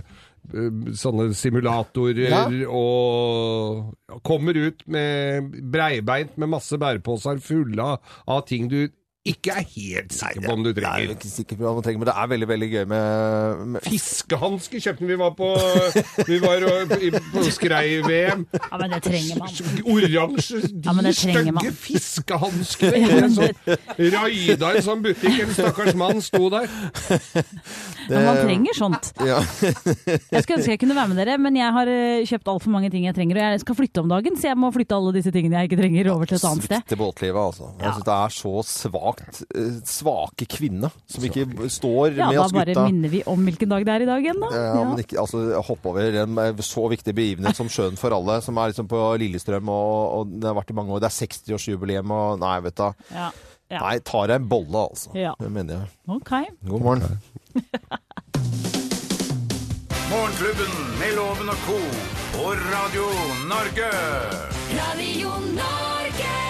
Speaker 5: Sånne simulatorer
Speaker 3: Ja.
Speaker 5: og kommer ut med breibeint med masse bæreposer fulle av, av ting du ikke er helt sikker på om du
Speaker 3: Jeg er
Speaker 5: trenger.
Speaker 3: jo ikke sikker på hva man trenger, men det er veldig, veldig gøy med, med
Speaker 5: Fiskehansker kjøpte vi var på Vi var og- i- på skrei-VM.
Speaker 4: Ja, men det trenger man.
Speaker 5: Oransje,
Speaker 4: Ja, men
Speaker 5: de
Speaker 4: det trenger man.
Speaker 5: stygge fiskehanskene! En sånn- Raida en sånn butikk, en stakkars mann sto der.
Speaker 4: Men man trenger sånt.
Speaker 3: Ja.
Speaker 4: <laughs> Jeg skulle ønske jeg kunne være med dere, men jeg har eh, kjøpt altfor mange ting jeg trenger. Og jeg skal flytte om dagen, så jeg må flytte alle disse tingene jeg ikke trenger, over til et annet sted.
Speaker 3: Svikte båtlivet, altså. Jeg synes det er så svagt eh, Svake kvinner som ikke b- står
Speaker 4: Ja,
Speaker 3: med
Speaker 4: da
Speaker 3: oss
Speaker 4: bare
Speaker 3: gutta.
Speaker 4: minner vi om hvilken dag det er i dag igjen, da.
Speaker 3: Ja, men ikke, altså, hopp over en eh, så viktig begivenhet som Sjøen for alle, som er liksom på Lillestrøm, og, og det har vært i mange år. Det er 60-årsjubileum, og nei, vet du.
Speaker 4: Ja. Ja.
Speaker 3: Nei, tar jeg en bolle, altså.
Speaker 4: Ja.
Speaker 3: Det mener jeg.
Speaker 4: Ok.
Speaker 3: God morgen.
Speaker 2: Morgenklubben med Loven og co. på Radio Norge.
Speaker 1: Radio Norge.